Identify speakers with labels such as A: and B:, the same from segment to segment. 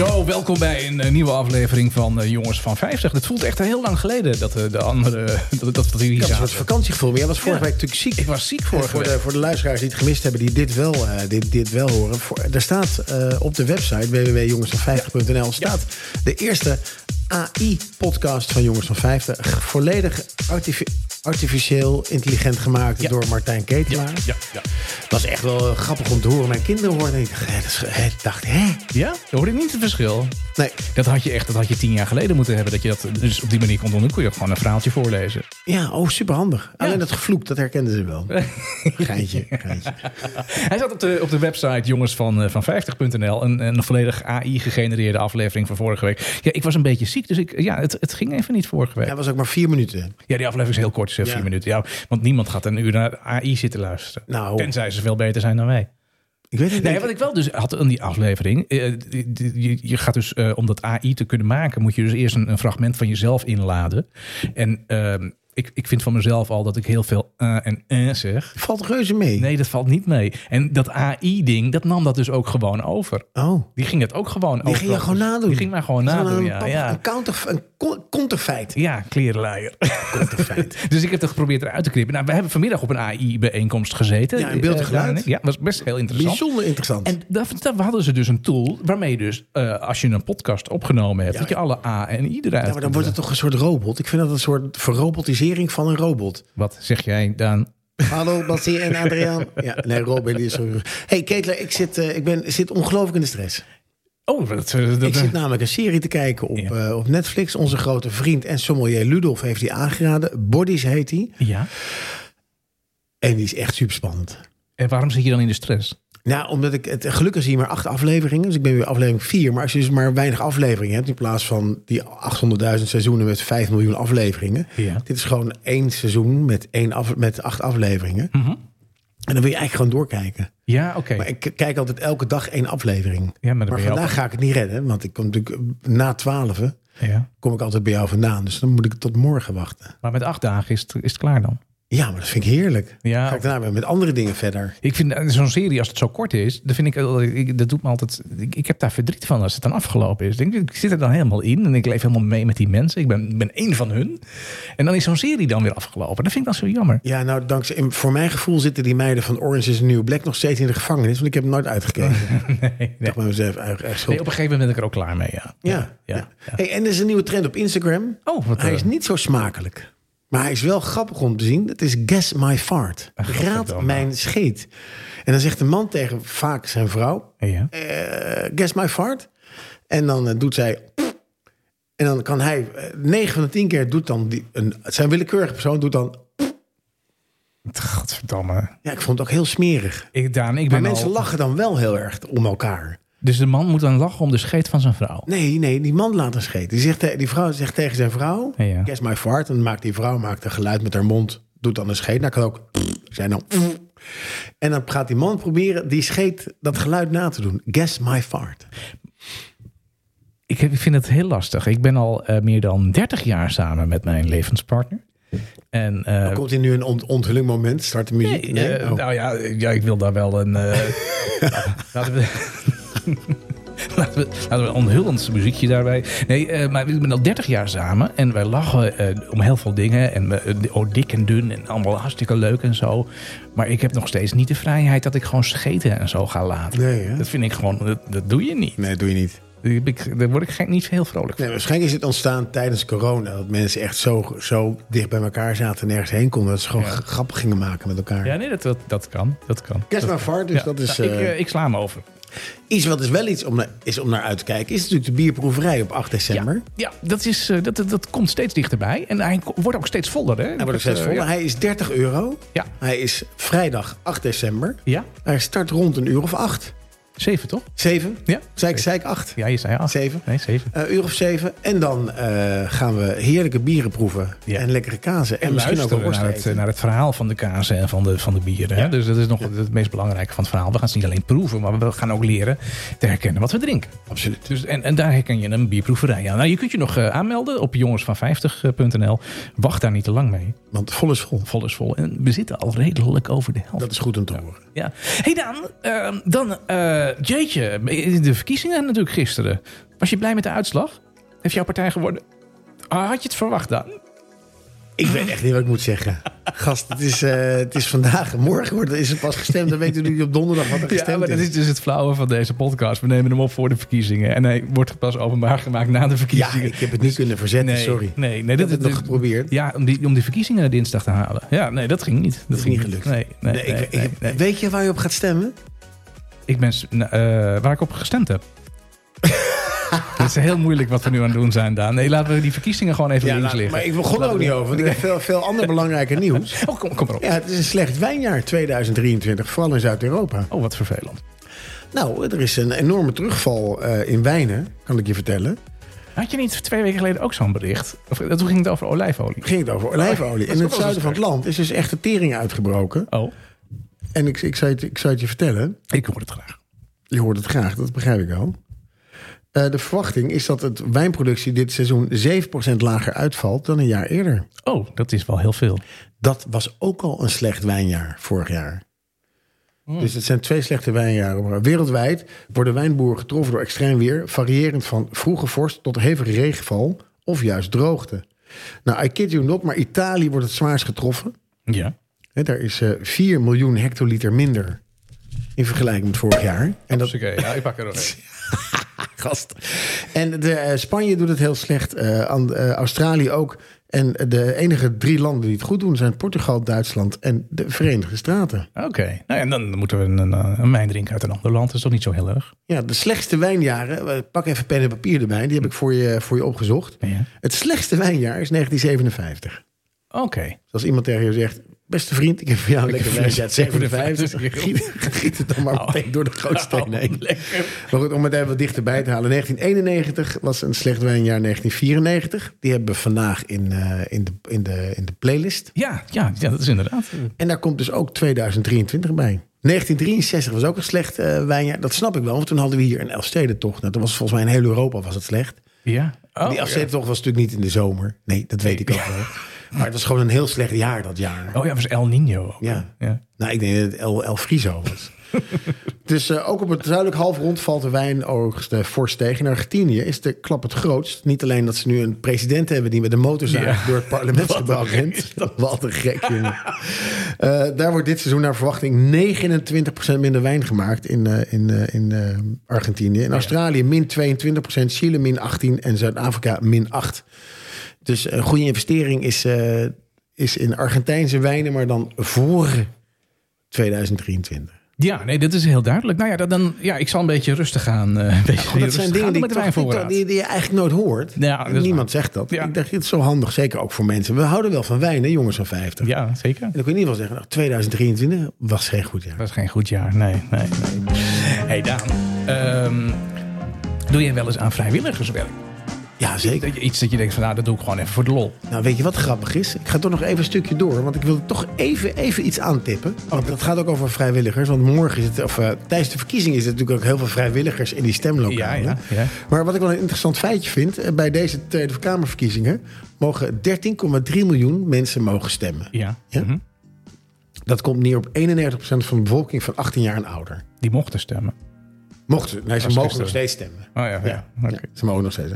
A: Hallo, welkom bij een eh, nieuwe aflevering van eh, Jongens van 50. Het voelt echt heel lang geleden dat eh, de andere dat, dat we hier
B: Ja, het
A: zaten.
B: was vakantiegevoel. Maar jij was vorige
A: Ja.
B: week natuurlijk ziek.
A: Ik was ziek vorige
B: voor,
A: week.
B: de, voor de luisteraars die het gemist hebben, die dit wel, eh, dit, dit wel horen. Voor, er staat eh, op de website www.jongensvan50.nl staat de eerste AI-podcast van Jongens van 50. Volledig artifi- artificieel intelligent gemaakt
A: Ja.
B: door Martijn Ketelaar.
A: Ja, ja, ja.
B: Dat was echt wel eh, grappig om te horen. Mijn kinderen hoorden. het. Ik dacht, hè, dat is- hè, ik dacht, hè?
A: Ja? Je hoorde niet het verschil.
B: Nee,
A: Dat had je echt, dat had je tien jaar geleden moeten hebben. Dat je dat dus op die manier kon doen. Dan kon je gewoon een verhaaltje voorlezen.
B: ja, oh, superhandig. Alleen dat gevloek, dat herkenden ze wel. Geintje, geintje.
A: Hij zat op de, op de website jongens van, eh, van 50.nl. Een, een volledig AI-gegenereerde aflevering van vorige week. Ja, ik was een beetje ziek, dus ik, ja, het, het ging even niet vorige week.
B: Dat was ook maar vier minuten.
A: Ja, die aflevering is heel kort, is eh,
B: Ja.
A: vier minuten. Ja, want niemand gaat een uur naar AI zitten luisteren.
B: Nou.
A: Tenzij ze veel beter zijn dan wij.
B: Ik weet het
A: Nee,
B: niet.
A: wat ik wel dus had in die aflevering. eh, die- die- je, je gaat dus, eh, om dat AI te kunnen maken, moet je dus eerst een, een fragment van jezelf inladen. En ehm, ik, ik vind van mezelf al dat ik heel veel eh en eh zeg.
B: Valt reuze mee.
A: Nee, dat valt niet mee. En dat AI-ding, dat nam dat dus ook gewoon over.
B: Oh.
A: Die ging het ook gewoon over.
B: Die ging je gewoon nadoen.
A: Die ging mij gewoon
B: Dat is wel
A: nadoen,
B: een,
A: ja.
B: pap-
A: Ja,
B: Een, counter, een co- counterfeit.
A: ja klerenluier.
B: Counterfeit.
A: Dus ik heb het geprobeerd eruit te knippen. Nou, we hebben vanmiddag op een AI-bijeenkomst gezeten.
B: Ja, in beeld en
A: Eh,
B: geluid.
A: daarin. Ja, was best heel interessant.
B: Bijzonder interessant.
A: En daar, daar hadden ze dus een tool waarmee je dus, eh, als je een podcast opgenomen hebt,
B: Ja.
A: dat je alle A en I eruit
B: ja, maar dan wordt het toch een soort robot. Ik vind dat een soort verrobotisering van een robot.
A: Wat zeg jij dan?
B: Hallo, Basie en Adriaan. Ja, nee, Robin die is zo... hey, Ketler, ik zit, eh, ik ben, zit ongelooflijk in de stress.
A: Oh, dat, eh, dat,
B: Ik zit
A: eh,
B: namelijk een serie te kijken op,
A: Ja.
B: eh, op Netflix. Onze grote vriend en sommelier Ludolf heeft die aangeraden. Bodies heet die.
A: ja.
B: En die is echt super spannend.
A: En waarom zit je dan in de stress?
B: Nou, omdat ik het gelukkig zie maar acht afleveringen. Dus ik ben weer aflevering vier. Maar als je dus maar weinig afleveringen hebt, in plaats van die 800.000 seizoenen met 5 miljoen afleveringen.
A: Ja.
B: Dit is gewoon één seizoen met, één af, met acht afleveringen.
A: Mhm.
B: En dan wil je eigenlijk gewoon doorkijken.
A: Ja, oké.
B: Maar ik k- kijk altijd elke dag één aflevering.
A: Ja, maar dan ben
B: maar
A: je
B: vandaag
A: ook-
B: ga ik het niet redden, want ik kom natuurlijk eh, na 12
A: Ja.
B: kom ik altijd bij jou vandaan. Dus dan moet ik tot morgen wachten.
A: Maar met acht dagen is het, is het klaar dan.
B: Ja, maar dat vind ik heerlijk.
A: Ja.
B: Ga ik daarna weer met andere dingen verder.
A: Ik vind eh, zo'n serie, als het zo kort is, dan vind ik, eh, ik- dat doet me altijd. Ik, ik heb daar verdriet van als het dan afgelopen is. Ik, denk, ik zit er dan helemaal in en ik leef helemaal mee met die mensen. Ik ben, ben één van hun. En dan is zo'n serie dan weer afgelopen. Dat vind ik dan zo jammer.
B: Ja, nou, dankzij, in- voor mijn gevoel zitten die meiden van Orange is the New Black nog steeds in de gevangenis. Want ik heb hem nooit uitgekeken.
A: Nee,
B: Ik
A: nee.
B: dacht bij mezelf, eigenlijk echt zo.
A: Nee, op een gegeven moment ben ik er ook klaar mee. Ja.
B: ja,
A: ja,
B: ja,
A: ja.
B: Hey, en er is een nieuwe trend op Instagram.
A: Oh, wat,
B: hij
A: eh,
B: is niet zo smakelijk. Maar hij is wel grappig om te zien. Dat is Guess My Fart.
A: godverdomme.
B: Raad mijn scheet. En dan zegt een man tegen vaak zijn vrouw...
A: Ja.
B: eh, guess My Fart. En dan eh, doet zij... En dan kan hij... eh, 9 van de 10 keer doet dan... Die, een, zijn willekeurige persoon doet dan...
A: Godverdamme.
B: Ja, ik vond het ook heel smerig.
A: Ik, Daan, ik
B: Maar
A: ben
B: mensen
A: al-
B: lachen dan wel heel erg om elkaar.
A: Dus de man moet dan lachen om de scheet van zijn vrouw.
B: Nee, nee, die man laat een scheet. Die, zegt, te- die vrouw zegt tegen zijn vrouw,
A: Ja, ja.
B: guess my fart. En dan maakt die vrouw maakt een geluid met haar mond, doet dan een scheet. Nou kan ook zijn dan. En dan gaat die man proberen die scheet, dat geluid na te doen. Guess my fart.
A: Ik, heb- ik vind het heel lastig. Ik ben al eh, meer dan 30 jaar samen met mijn levenspartner. En eh,
B: Komt hier nu een on onthulling moment? Start de muziek?
A: nee,
B: Nee?
A: eh,
B: Oh.
A: nou ja, ja, ik wil daar wel een. eh, laten we. Laten we, laten we een onthullend muziekje daarbij. Nee, eh, maar we zijn al 30 jaar samen en wij lachen eh, om heel veel dingen. En we- eh, oh, dik en dun en allemaal hartstikke leuk en zo. Maar ik heb nog steeds niet de vrijheid dat ik gewoon scheten en zo ga laten.
B: Nee, hè?
A: Dat vind ik gewoon, dat, dat doe je niet.
B: nee, doe je niet.
A: Daar heb ik- Daar word ik gek- niet heel vrolijk van.
B: Nee, waarschijnlijk is het ontstaan tijdens corona. Dat mensen echt zo, zo dicht bij elkaar zaten en nergens heen konden. Dat ze gewoon
A: Ja.
B: g- grappen gingen maken met elkaar.
A: Ja, nee, dat, dat, dat kan. Dat kan.
B: Guess my
A: Dat-
B: fart, dus
A: Ja,
B: dat is...
A: nou, ik,
B: eh,
A: eh, ik sla hem over.
B: Iets wat is wel iets om naar, is om naar uit te kijken, is natuurlijk de bierproeverij op 8 december.
A: Ja, ja dat, is, eh, dat, dat, dat komt steeds dichterbij. En hij ko- wordt ook steeds voller, hè?
B: Hij wordt ook steeds
A: Eh,
B: voller.
A: ja.
B: Hij is 30 euro.
A: Ja.
B: Hij is vrijdag 8 december.
A: Ja,
B: Hij start rond een uur of acht.
A: zeven toch?
B: Zeven?
A: Ja.
B: Zei ik, zei ik acht?
A: Ja, je zei acht.
B: Zeven.
A: Nee, zeven.
B: Een uur of zeven. En dan eh, gaan we heerlijke bieren proeven.
A: Ja.
B: En lekkere kazen. En, misschien ook
A: Luisteren
B: een worst
A: naar het,
B: eten.
A: naar het verhaal van de kazen en van de, van de bieren. Hè? Dus dat is nog het meest belangrijke van het verhaal. We gaan ze niet alleen proeven, maar we gaan ook leren te herkennen wat we drinken.
B: Absoluut.
A: Dus, en, en daar herken je een bierproeverij aan. Nou, je kunt je nog eh, aanmelden op jongensvan50.nl. Wacht daar niet te lang mee.
B: Want vol is vol.
A: Vol is vol. En we zitten al redelijk over de helft.
B: Dat is goed om te horen.
A: Ja. Hey Daan, ehm, dan eh, jeetje, de verkiezingen natuurlijk gisteren. Was je blij met de uitslag? Heeft jouw partij gewonnen? Ah, Had je het verwacht dan?
B: Ik weet echt niet wat ik moet zeggen. Gast, het is, eh, het is vandaag. Morgen wordt, is het pas gestemd. Dan weten jullie op donderdag wat er
A: Ja,
B: gestemd
A: maar dat
B: is.
A: is dus het flauwe van deze podcast. We nemen hem op voor de verkiezingen. En hij wordt pas openbaar gemaakt na de
B: Ja,
A: verkiezingen.
B: ik heb het niet kunnen verzetten,
A: nee,
B: sorry.
A: Nee, nee,
B: Ik heb
A: dit,
B: het nog
A: dit-
B: geprobeerd.
A: Ja, om die, om die verkiezingen dinsdag te halen. Ja, nee, dat ging niet. Dat,
B: is
A: ging
B: niet gelukt.
A: Nee, nee,
B: Nee, ik-
A: nee,
B: ik-
A: nee, nee.
B: Weet je waar je op gaat stemmen?
A: Ik ben s- nou, eh, waar ik op gestemd heb. Het is heel moeilijk wat we nu aan het doen zijn, Daan. Nee, laten we die verkiezingen gewoon even links
B: nou,
A: liggen.
B: maar ik begon ook niet over, want ik heb veel, veel ander belangrijker nieuws.
A: Oh, kom, kom erop.
B: Ja, het is een slecht wijnjaar 2023, vooral in Zuid-Europa.
A: Oh, wat vervelend.
B: Nou, er is een enorme terugval eh, in wijnen, kan ik je vertellen.
A: Had je niet twee weken geleden ook zo'n bericht? Of, eh, toen ging het over olijfolie.
B: Ging het over olijfolie.
A: dat is
B: In
A: ook wel
B: het
A: zo
B: zuiden van het land is dus echt de tering uitgebroken.
A: Oh,
B: En ik, ik, zou het, ik zou het je vertellen,
A: ik hoor het graag.
B: je hoort het graag, dat begrijp ik al. Eh, de verwachting is dat het wijnproductie dit seizoen 7% lager uitvalt dan een jaar eerder.
A: Oh, dat is wel heel veel.
B: Dat was ook al een slecht wijnjaar vorig jaar. Dus het zijn twee slechte wijnjaren. Wereldwijd worden wijnboeren getroffen door extreem weer, variërend van vroege vorst tot hevige regenval of juist droogte. Nou, I kid you not, maar Italië wordt het zwaarst getroffen.
A: Ja.
B: Hè, daar is eh 4 miljoen hectoliter minder in vergelijking met vorig jaar. En dat,
A: oké. Ja, ik pak er nog een.
B: gast. En de, eh, Spanje doet het heel slecht. eh, aan- eh, Australië ook. En de enige drie landen die het goed doen zijn Portugal, Duitsland en de Verenigde Staten.
A: Oké. Nou ja, en dan moeten we een, een, eh, een wijn drinken uit een ander land. Dat is toch niet zo heel erg?
B: Ja, de slechtste wijnjaren. eh, Pak even pen en papier erbij. Die heb ik voor je, voor je opgezocht.
A: Ja.
B: Het slechtste wijnjaar is 1957.
A: Oké.
B: Dus als iemand tegen je zegt... Beste vriend, ik heb voor jou een lekker wijntje uit 57.
A: 57.
B: Giet, giet het dan maar meteen door de grootsteen heen.
A: lekker.
B: Maar goed, om het even wat dichterbij te halen. 1991 was een slecht wijnjaar 1994. Die hebben we vandaag in, eh, in, de, in, de, in de playlist.
A: Ja, ja, ja, dat is inderdaad.
B: En daar komt dus ook 2023 bij. 1963 was ook een slecht eh, wijnjaar. Dat snap ik wel, want toen hadden we hier een Elfstedentocht. Nou, toen was volgens mij in heel Europa was het slecht.
A: Ja. Oh,
B: die
A: ja.
B: Elfstedentocht was natuurlijk niet in de zomer. Nee, dat weet ik ook wel. Maar het was gewoon een heel slecht jaar dat jaar.
A: Oh ja, was El Nino.
B: Ja.
A: ja.
B: Nou, ik denk dat het El, El Friso was. dus eh, ook op het zuidelijk halfrond valt de wijnoogst eh, fors tegen. In Argentinië is de klap het grootst. Niet alleen dat ze nu een president hebben die met een motorzaag
A: Ja.
B: door het parlementsgebouw rent. Wat een gek, jongen. Eh, daar wordt dit seizoen naar verwachting 29% minder wijn gemaakt in, eh, in, eh, in eh, Argentinië. In Australië min 22%, Chile min 18% en Zuid-Afrika min 8%. Dus een goede investering is, eh, is in Argentijnse wijnen, maar dan voor 2023.
A: Ja, nee, dat is heel duidelijk. Nou ja, dat dan, ja ik zal een beetje rustig gaan. eh, een beetje
B: dat
A: rustig
B: zijn
A: gaan
B: dingen die,
A: met de
B: ik toch- eh,
A: wijnvoorraad.
B: die, die je eigenlijk nooit hoort.
A: Ja, dat is
B: Niemand zegt dat.
A: Ja.
B: Ik dacht, dit is zo handig, zeker ook voor mensen. We houden wel van wijn, hè, jongens van 50.
A: Ja, zeker.
B: En dan kun je in ieder geval zeggen, nou, 2023 was geen goed jaar.
A: Dat is geen goed jaar. Nee, nee, nee. hey Daan, ehm, doe jij wel eens aan vrijwilligerswerk?
B: Ja, zeker.
A: Dat je iets dat je denkt van, nou, dat doe ik gewoon even voor de lol.
B: Nou, weet je wat grappig is? Ik ga toch nog even een stukje door, want ik wil toch even, even iets aantippen.
A: Oh.
B: Want dat gaat ook over vrijwilligers, want morgen is het, of eh, tijdens de verkiezing is het natuurlijk ook heel veel vrijwilligers in die stemlokalen.
A: Ja, ja, ja.
B: Maar wat ik wel een interessant feitje vind, eh, bij deze Tweede Kamerverkiezingen mogen 13,3 miljoen mensen mogen stemmen.
A: Ja.
B: Ja?
A: Mhm.
B: Dat komt neer op 31% van de bevolking van 18 jaar en ouder.
A: Die mochten stemmen.
B: Mochten ze, nee, ze
A: Dat is
B: mogen
A: gisteren.
B: nog steeds stemmen.
A: Oh ja, ja. Oké.
B: Ja, ze mogen nog steeds.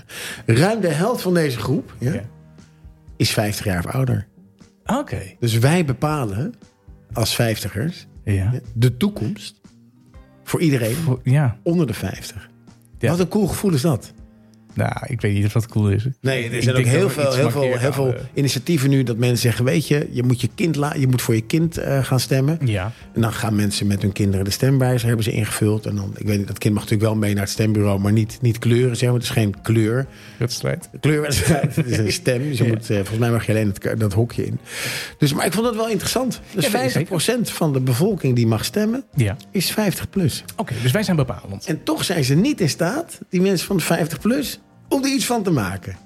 B: stemmen. Ruim de helft van deze groep ja,
A: Ja.
B: is 50 jaar of ouder.
A: Oké.
B: Dus wij bepalen als 50ers
A: Ja.
B: de toekomst voor iedereen
A: Voor- Ja.
B: onder de 50.
A: Ja.
B: Wat een cool gevoel is dat.
A: Nou, ik weet niet of dat cool is.
B: Nee, er
A: Ik
B: zijn ook
A: denk
B: heel
A: dat we
B: veel,
A: iets eh,
B: heel, veel,
A: markeerd
B: heel veel
A: hadden.
B: initiatieven nu dat mensen zeggen: Weet je, je moet, je kind la- je moet voor je kind eh, gaan stemmen.
A: Ja.
B: En dan gaan mensen met hun kinderen de stemwijzer hebben ze ingevuld. En dan, ik weet niet, dat kind mag natuurlijk wel mee naar het stembureau, maar niet, niet kleuren. Zeg maar. Het is geen kleur.
A: Wedstrijd.
B: Kleurwedstrijd. Het is een stem. Dus je moet, eh, volgens mij mag je alleen het, dat hokje in. Dus, maar ik vond het wel interessant. Dus
A: Ja, dat is
B: 50% van de bevolking die mag stemmen,
A: Ja.
B: is 50 plus.
A: Oké, dus wij zijn bepalend.
B: En toch zijn ze niet in staat, die mensen van de 50 plus, om er iets van te maken.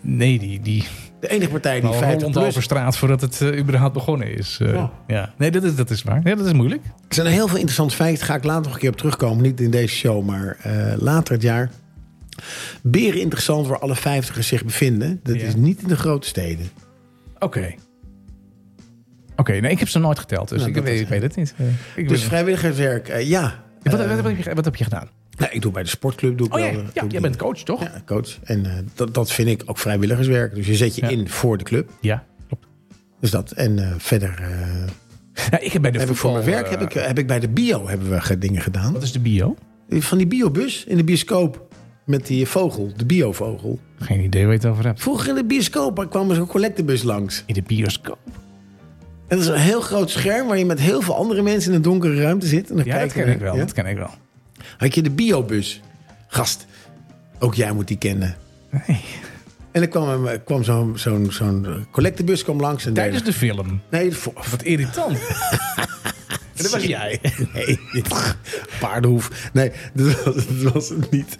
A: Nee, die, die,
B: De enige partij die
A: Al
B: 50
A: Holland
B: plus...
A: over straat voordat het eh, überhaupt begonnen is. Eh,
B: Ja.
A: ja. Nee, dat is, dat is waar. Ja, dat is moeilijk.
B: Er zijn heel veel interessante feiten. Ga ik later nog een keer op terugkomen. Niet in deze show, maar eh, later het jaar. Beren interessant waar alle 50ers zich bevinden. Dat
A: Ja.
B: is niet in de grote steden.
A: Oké. Oké, nee, ik heb ze nooit geteld, dus
B: Nou,
A: ik,
B: dat
A: weet,
B: is-
A: ik weet het niet. Eh, ik
B: Dus
A: weet-
B: vrijwilligerswerk, eh, ja.
A: wat, wat, wat heb je, wat heb je gedaan?
B: Nou, ik doe bij de sportclub. Doe ik
A: Oh ja,
B: wel, eh,
A: ja,
B: doe ik
A: jij
B: die-
A: bent coach, toch?
B: Ja, coach. En eh, dat, dat vind ik ook vrijwilligerswerk. Dus je zet je
A: Ja.
B: in voor de club.
A: Ja, klopt.
B: Dus dat. En eh, verder eh,
A: Ja, ik heb bij de
B: heb ik voor
A: voetbal,
B: mijn werk
A: eh,
B: heb ik, heb ik bij de bio hebben we ge- dingen gedaan.
A: Wat is de bio?
B: Van die biobus in de bioscoop. Met die vogel, de biovogel.
A: Geen idee waar je het over hebt.
B: Vroeger in de bioscoop daar kwam er zo'n collectebus langs.
A: In de bioscoop.
B: En dat is een heel groot scherm waar je met heel veel andere mensen in een donkere ruimte zit. En dan
A: Ja,
B: kijk
A: dat ken
B: je-
A: ik wel.
B: Ja?
A: Dat ken ik wel.
B: Had je de biobus. Gast, ook jij moet die kennen.
A: Nee.
B: En er kwam, een- kwam zo'n zo'n zo'n eh, collectebus kwam langs. En
A: Tijdens de film.
B: deed- Nee, voor,
A: Wat irritant. En dat was jij.
B: Nee, paardenhoef. Nee, dat was, dat was het niet.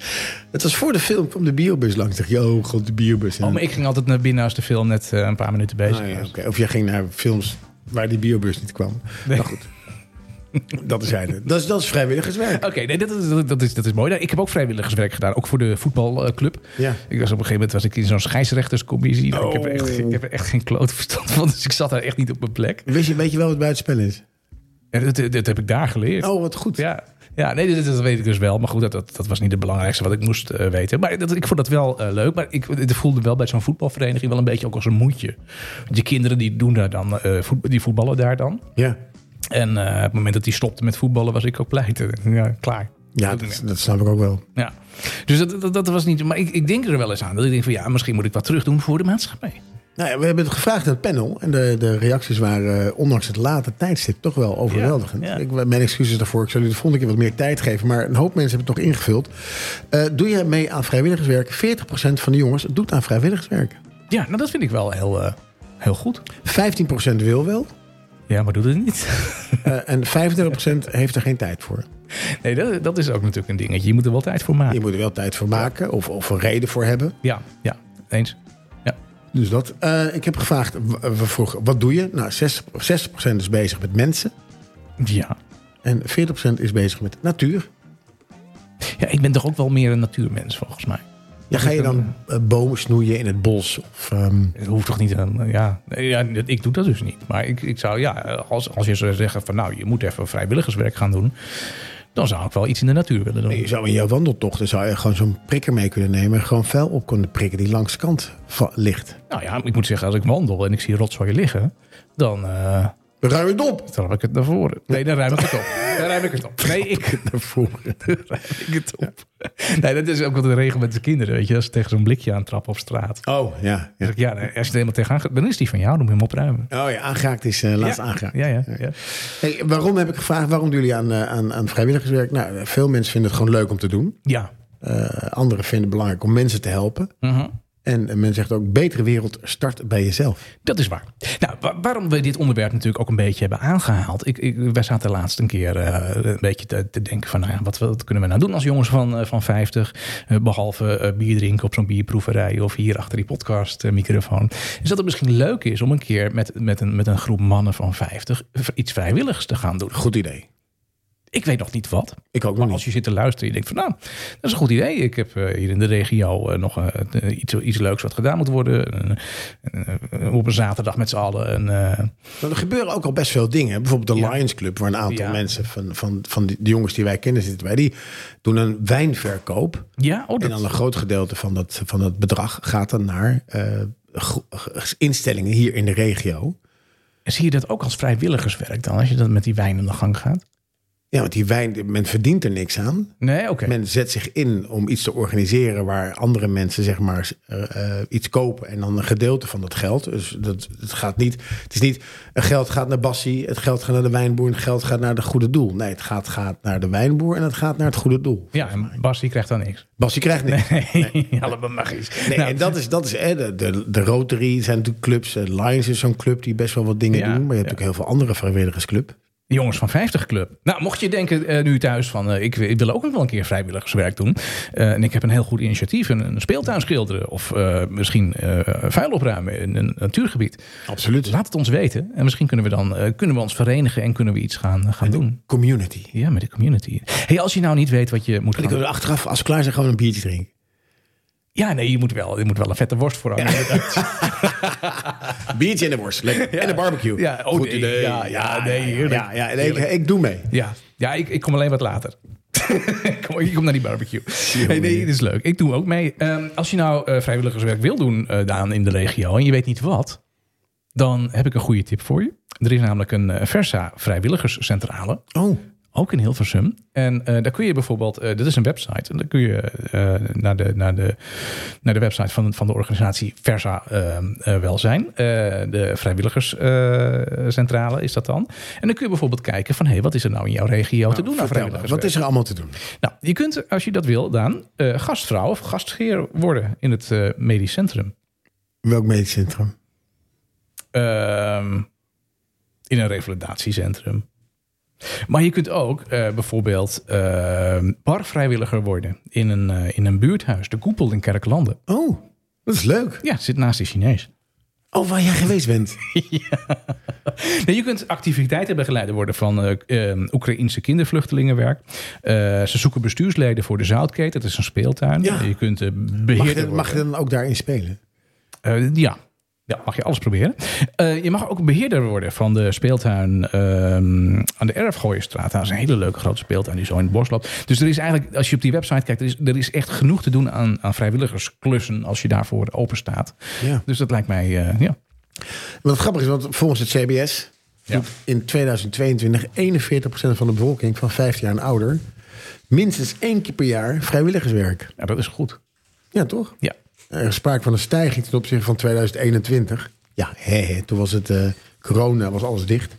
B: Het was voor de film, kwam de biobus langs. Ik dacht, oh god, de biobus. En
A: Oh, maar ik ging altijd naar binnen als de film net eh, een paar minuten bezig
B: Ah,
A: was.
B: ja, oké. Of jij ging naar films waar die biobus niet kwam.
A: Nee.
B: Nou goed, dat is hij. Dat is, dat is vrijwilligerswerk.
A: Oké, nee, dat, is, dat- dat, is, dat is mooi. Nou, Ik heb ook vrijwilligerswerk gedaan, ook voor de voetbalclub.
B: Ja.
A: Ik was op een gegeven moment was ik in zo'n scheidsrechterscommissie. Nou, Ik, heb er echt,
B: Oh.
A: ik heb er echt geen klote verstand van, dus ik zat daar echt niet op mijn plek.
B: Weet je, weet je wel wat buitenspel is?
A: En dat, dat heb ik daar geleerd.
B: Oh, wat goed.
A: Ja, ja nee, dat, dat weet ik dus wel. Maar goed, dat, dat, dat was niet het belangrijkste wat ik moest eh, weten. Maar dat, ik vond dat wel eh, leuk. Maar ik, ik voelde wel bij zo'n voetbalvereniging wel een beetje ook als een moedje. Want je kinderen die, doen daar dan, eh, voet- die voetballen daar dan.
B: Ja,
A: En eh, op het moment dat die stopte met voetballen was ik ook pleiten. Ja, klaar.
B: ja dat, dat snap ik ook wel.
A: Ja, dus dat, dat, dat was niet. Maar ik, ik denk er wel eens aan. Dat ik denk van ja, misschien moet ik wat terug doen voor de maatschappij.
B: Nou ja, we hebben het gevraagd aan het panel. En de, de reacties waren, eh, ondanks het late tijdstip, toch wel overweldigend.
A: Ja, ja.
B: Ik, mijn excuses daarvoor. Ik zal jullie de volgende keer wat meer tijd geven. Maar een hoop mensen hebben het nog ingevuld. Eh, doe je mee aan vrijwilligerswerk? 40% van de jongens doet aan vrijwilligerswerk.
A: Ja, nou dat vind ik wel heel, eh, heel goed.
B: 15% wil wel.
A: Ja, maar doe het niet.
B: eh, en 35% heeft er geen tijd voor.
A: Nee, dat, dat is ook natuurlijk een dingetje. Je moet er wel tijd voor
B: Je
A: maken.
B: moet er wel tijd voor maken of, of een reden voor hebben.
A: Ja, ja, eens. Ja.
B: Dus dat. eh, ik heb gevraagd, w- we vroegen, wat doe je? Nou, 60%, 60% is bezig met mensen.
A: ja.
B: En 40% is bezig met natuur.
A: Ja, ik ben toch ook wel meer een natuurmens volgens mij.
B: Ja, ga je dan eh, bomen snoeien in het bos? Of, ehm,
A: Het hoeft toch niet aan. Ja, Nee, ja dat- ik doe dat dus niet. Maar ik, ik zou, ja, als, als je zou zeggen van nou, je moet even vrijwilligerswerk gaan doen. Dan zou ik wel iets in de natuur willen doen.
B: je zou in jouw wandeltochten zou je gewoon zo'n prikker mee kunnen nemen. En gewoon vuil op kunnen prikken die langs de kant va- ligt.
A: Nou ja, ik moet zeggen, als ik wandel en ik zie rotzooi liggen, dan. eh,
B: Ruim het op!
A: Dan heb ik het naar voren. Nee, dan ruim ik het op. Dan ruim ik het op. Nee, ik
B: Naar voren.
A: ruim ik het op. Nee, dat is ook wat de regel met de kinderen. Weet je, als ze tegen zo'n blikje aantrappen op straat.
B: Oh, ja. ja.
A: Dan zeg ik, ja, nee, als je er helemaal tegenaan gaat, dan is die van jou. Dan moet je hem opruimen.
B: Oh ja, aangeraakt is eh, laatst
A: ja.
B: aangeraakt.
A: Ja, ja, ja.
B: Hey, waarom heb ik gevraagd, waarom doen jullie aan, eh, aan, aan vrijwilligerswerk? Nou, eh, veel mensen vinden het gewoon leuk om te doen.
A: Ja.
B: Eh, anderen vinden het belangrijk om mensen te helpen.
A: Mhm.
B: En eh, men zegt ook, betere wereld start bij jezelf.
A: Dat is waar. Nou, wa- waarom we dit onderwerp natuurlijk ook een beetje hebben aangehaald. Ik, ik, wij zaten laatst een keer eh, een beetje te, te denken van... Nou ja, wat, wat kunnen we nou doen als jongens van, eh, van 50? eh, behalve eh, bier drinken op zo'n bierproeverij... of hier achter die podcastmicrofoon. dus dat het misschien leuk is om een keer met, met, een, met een groep mannen van 50... iets vrijwilligs te gaan doen.
B: Goed idee.
A: Ik weet nog niet wat.
B: Ik ook nog
A: Als
B: niet.
A: je zit te luisteren en je denkt van nou, dat is een goed idee. Ik heb eh, hier in de regio eh, nog eh, iets, iets leuks wat gedaan moet worden. Eh, eh, op een zaterdag met z'n allen. En, eh,
B: Maar er gebeuren ook al best veel dingen. Bijvoorbeeld de
A: Ja.
B: Lions Club, waar een aantal
A: Ja.
B: mensen van, van, van die, de jongens die wij kennen zitten bij, die doen een wijnverkoop.
A: ja, oh,
B: En
A: dat,
B: dan een groot gedeelte van dat, van dat bedrag gaat dan naar eh, gro- instellingen hier in de regio.
A: zie je dat ook als vrijwilligerswerk dan? Als je dan met die wijn aan de gang gaat?
B: Ja, want die wijn, men verdient er niks aan.
A: Nee, oké.
B: Men zet zich in om iets te organiseren waar andere mensen zeg maar eh, eh, iets kopen en dan een gedeelte van dat geld. Dus dat, het gaat niet. Het is niet het geld gaat naar Bassie, het geld gaat naar de wijnboer, en het geld gaat naar het goede doel. Nee, het gaat, gaat naar de wijnboer en het gaat naar het goede doel.
A: Ja, en Bas die krijgt dan niks.
B: Bassie krijgt niks.
A: allemaal magisch.
B: Nee, nou. en dat is, dat is hè, de, de, de Rotary zijn natuurlijk clubs. eh, Lions is zo'n club die best wel wat dingen
A: Ja,
B: doen. Maar je hebt
A: ja.
B: ook heel veel andere vrijwilligersclub.
A: Jongens van 50 Club. Nou, mocht je denken eh, nu thuis van... eh, ik, ik wil ook nog wel een keer vrijwilligerswerk doen. Eh, en ik heb een heel goed initiatief. Een, een speeltuin schilderen. Of eh, misschien eh, vuil opruimen in een natuurgebied.
B: Absoluut.
A: Laat het ons weten. En misschien kunnen we dan eh, kunnen we ons verenigen. En kunnen we iets gaan, eh, gaan doen.
B: Community.
A: Ja, met de community. Hey, als je nou niet weet wat je moet
B: En ik
A: gaan
B: wil achteraf, als we klaar zijn, gewoon een biertje drinken.
A: Ja, nee, je moet wel, je moet wel een vette worst voor aan.
B: Biertje en de worst. Lekker. En een barbecue.
A: Ja, oh,
B: Goed
A: nee,
B: idee.
A: ja, ja, nee, heerlijk.
B: Ja, ja, nee, ik, ik doe mee.
A: Ja, ja ik, ik kom alleen wat later. kom, je komt naar die barbecue. Hey, nee, dit is leuk. Ik doe ook mee. Ehm, als je nou eh, vrijwilligerswerk wil doen, eh, Daan, in de regio... en je weet niet wat, dan heb ik een goede tip voor je. Er is namelijk een eh, Versa vrijwilligerscentrale...
B: Oh,
A: Ook in Hilversum. En eh, daar kun je bijvoorbeeld, eh, dit is een website. En dan kun je eh, naar, de, naar, de, naar de website van, van de organisatie Versa eh, eh, Welzijn. eh, de vrijwilligerscentrale eh, is dat dan. En dan kun je bijvoorbeeld kijken van, hé, hey, wat is er nou in jouw regio te doen aan
B: vertel maar,
A: vrijwilligers?
B: Wat is er allemaal te doen?
A: Nou, je kunt, als je dat wil, Daan, eh, gastvrouw of gastheer worden in het eh, medisch centrum.
B: Welk medisch centrum?
A: Ehm, in een revalidatiecentrum. Maar je kunt ook eh, bijvoorbeeld ehm, barvrijwilliger worden in een, eh, in een buurthuis, de Koepel in Kerklanden.
B: Oh, dat is leuk.
A: Ja, zit naast de Chinees.
B: Oh, waar jij geweest bent.
A: Nee, je kunt activiteiten begeleider worden van eh, eh, Oekraïnse kindervluchtelingenwerk. Eh, ze zoeken bestuursleden voor de Zoutketen, dat is een speeltuin.
B: Ja.
A: Je kunt eh,
B: Mag
A: beheerder
B: je,
A: worden.
B: mag je dan ook daarin spelen?
A: Eh, ja. ja, mag je alles proberen. Eh, je mag ook beheerder worden van de speeltuin ehm, aan de Erfgooienstraat. Dat is een hele leuke grote speeltuin die zo in het bos loopt. Dus er is eigenlijk, als je op die website kijkt, er is, er is echt genoeg te doen aan, aan vrijwilligersklussen als je daarvoor open staat.
B: Ja.
A: Dus dat lijkt mij, eh, ja.
B: Wat grappig is, want volgens het CBS
A: Ja.
B: doet in 2022 41% van de bevolking van 15 jaar en ouder minstens één keer per jaar vrijwilligerswerk.
A: ja, dat is goed.
B: Ja, toch?
A: Ja.
B: Er is sprake van een stijging ten opzichte van 2021. Ja, hè, hè, toen was het eh, corona, was alles dicht.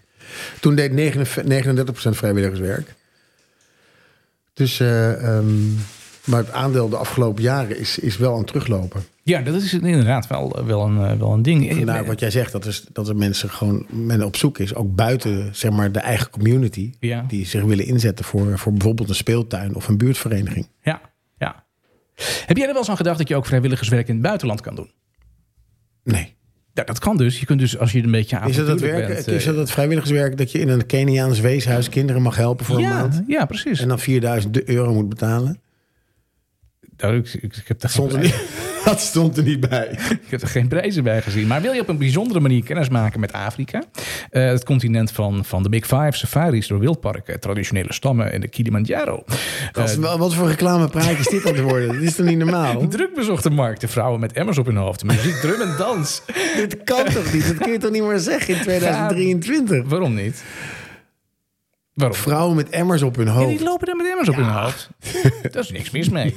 B: Toen deed 39 vrijwilligerswerk. Dus, eh, ehm, maar het aandeel de afgelopen jaren is, is wel aan het teruglopen.
A: Ja, dat is inderdaad wel, wel, een, eh, wel een ding.
B: Vandaar wat jij zegt, dat, is, dat er mensen gewoon men op zoek is, ook buiten zeg maar, de eigen community,
A: Ja.
B: die zich willen inzetten voor, voor bijvoorbeeld een speeltuin of een buurtvereniging.
A: Ja, ja. Heb jij er wel eens aan gedacht dat je ook vrijwilligerswerk in het buitenland kan doen?
B: Nee.
A: Ja, dat kan dus. Je kunt dus als je een beetje
B: Is dat, het
A: avontuurlijk
B: werk,
A: bent... eh,
B: is dat het vrijwilligerswerk dat je in een Keniaans weeshuis kinderen mag helpen voor een
A: ja,
B: maand?
A: ja, precies.
B: En dan 4000 euro moet betalen?
A: Nou, ik, ik, ik heb daar geen
B: Stond er
A: prijzen,
B: niet, dat stond er niet bij.
A: ik heb er geen prijzen bij gezien. Maar wil je op een bijzondere manier kennis maken met Afrika? Eh, het continent van, van de Big Five, safaris door wildparken, traditionele stammen en de Kilimanjaro.
B: Gast, wel- wat voor reclamepraatje is dit aan het worden? Dit is toch niet normaal?
A: Druk bezochte markten, vrouwen met emmers op hun hoofd, muziek, drum en dans.
B: Dit kan toch niet? Dat kun je toch niet meer zeggen in 2023?
A: Waarom niet? Waarom?
B: Vrouwen met emmers op hun
A: Ja, die
B: hoofd.
A: lopen daar met emmers op hun hoofd. Oh. Daar is niks mis mee.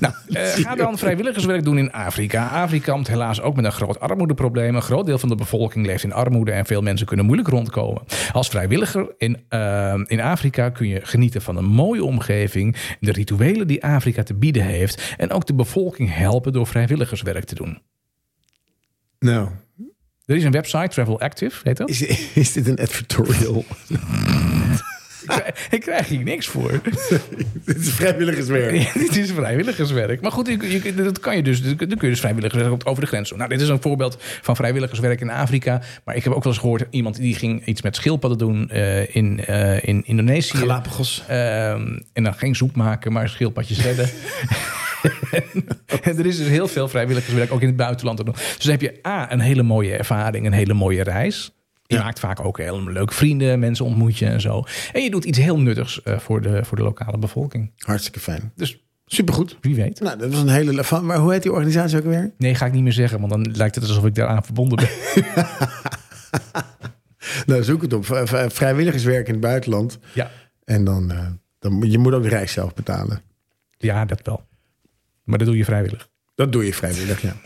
A: nou, eh, ga dan vrijwilligerswerk doen in Afrika. Afrika kampt helaas ook met een groot armoedeprobleem. Een groot deel van de bevolking leeft in armoede en veel mensen kunnen moeilijk rondkomen. Als vrijwilliger in, eh, in Afrika kun je genieten van een mooie omgeving, de rituelen die Afrika te bieden heeft en ook de bevolking helpen door vrijwilligerswerk te doen.
B: Nou,
A: Er is een website, Travel Active, heet dat?
B: is, is dit een advertorial?
A: Ik krijg- Ik krijg hier niks voor.
B: dit is vrijwilligerswerk.
A: Ja, dit is vrijwilligerswerk. Maar goed, je, je- dat kan je dus. Dan kun je dus vrijwilligerswerk op- over de grens doen. Nou, dit is een voorbeeld van vrijwilligerswerk in Afrika. Maar ik heb ook wel eens gehoord... iemand die ging iets met schildpadden doen eh, in, eh, in Indonesië.
B: Galapagos.
A: Ehm, en dan geen soep maken, maar schildpadjes redden. en er is dus heel veel vrijwilligerswerk, ook in het buitenland. te doen. Dus dan heb je A, een hele mooie ervaring, een hele mooie reis. Je
B: Ja.
A: maakt vaak ook heel leuk vrienden, mensen ontmoet je en zo. En je doet iets heel nuttigs eh, voor, de, voor de lokale bevolking.
B: Hartstikke fijn.
A: Dus
B: Supergoed.
A: wie weet.
B: Nou, dat was een hele... Van, maar hoe heet die organisatie ook weer?
A: Nee, ga ik niet meer zeggen, want dan lijkt het alsof ik daaraan verbonden ben.
B: Nou, zoek het op. V- v- Vrijwilligerswerk in het buitenland.
A: ja.
B: En dan, eh, dan moet- je moet ook de reis zelf betalen.
A: ja, dat wel. Maar dat doe je vrijwillig.
B: Dat doe je vrijwillig, ja.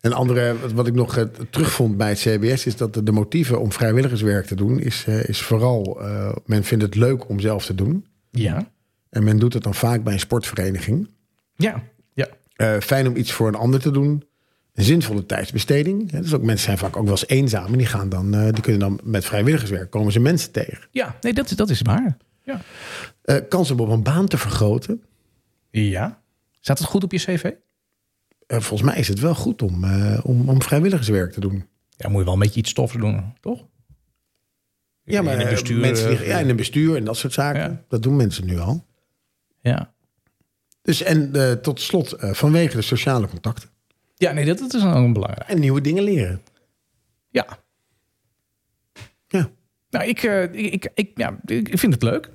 B: Een andere, wat ik nog eh, terugvond bij het CBS, is dat de, de motieven om vrijwilligerswerk te doen, is, eh, is vooral, eh, men vindt het leuk om zelf te doen.
A: Ja.
B: En men doet het dan vaak bij een sportvereniging.
A: Ja. Ja.
B: Eh, fijn om iets voor een ander te doen. Een zinvolle tijdsbesteding. Hè, dus ook mensen zijn vaak ook wel eens eenzaam. En die, gaan dan, eh, die kunnen dan met vrijwilligerswerk komen ze mensen tegen.
A: Ja, nee, dat, dat is waar. Ja.
B: Eh kans om op een baan te vergroten.
A: ja. Staat het goed op je cv?
B: Eh, volgens mij is het wel goed om, eh, om, om vrijwilligerswerk te doen.
A: Ja, moet je wel een beetje iets stofs doen, toch?
B: Ja, maar
A: in een
B: eh,
A: bestuur,
B: mensen die-
A: eh,
B: ja, in een bestuur en dat soort zaken.
A: Ja.
B: Dat doen mensen nu al.
A: Ja.
B: Dus en eh, tot slot, eh, vanwege de sociale contacten.
A: Ja, nee, dat, dat is ook belangrijk.
B: En nieuwe dingen leren.
A: Ja.
B: Ja.
A: Nou, ik, eh, ik, ik, ik- ja, ik ik vind het leuk.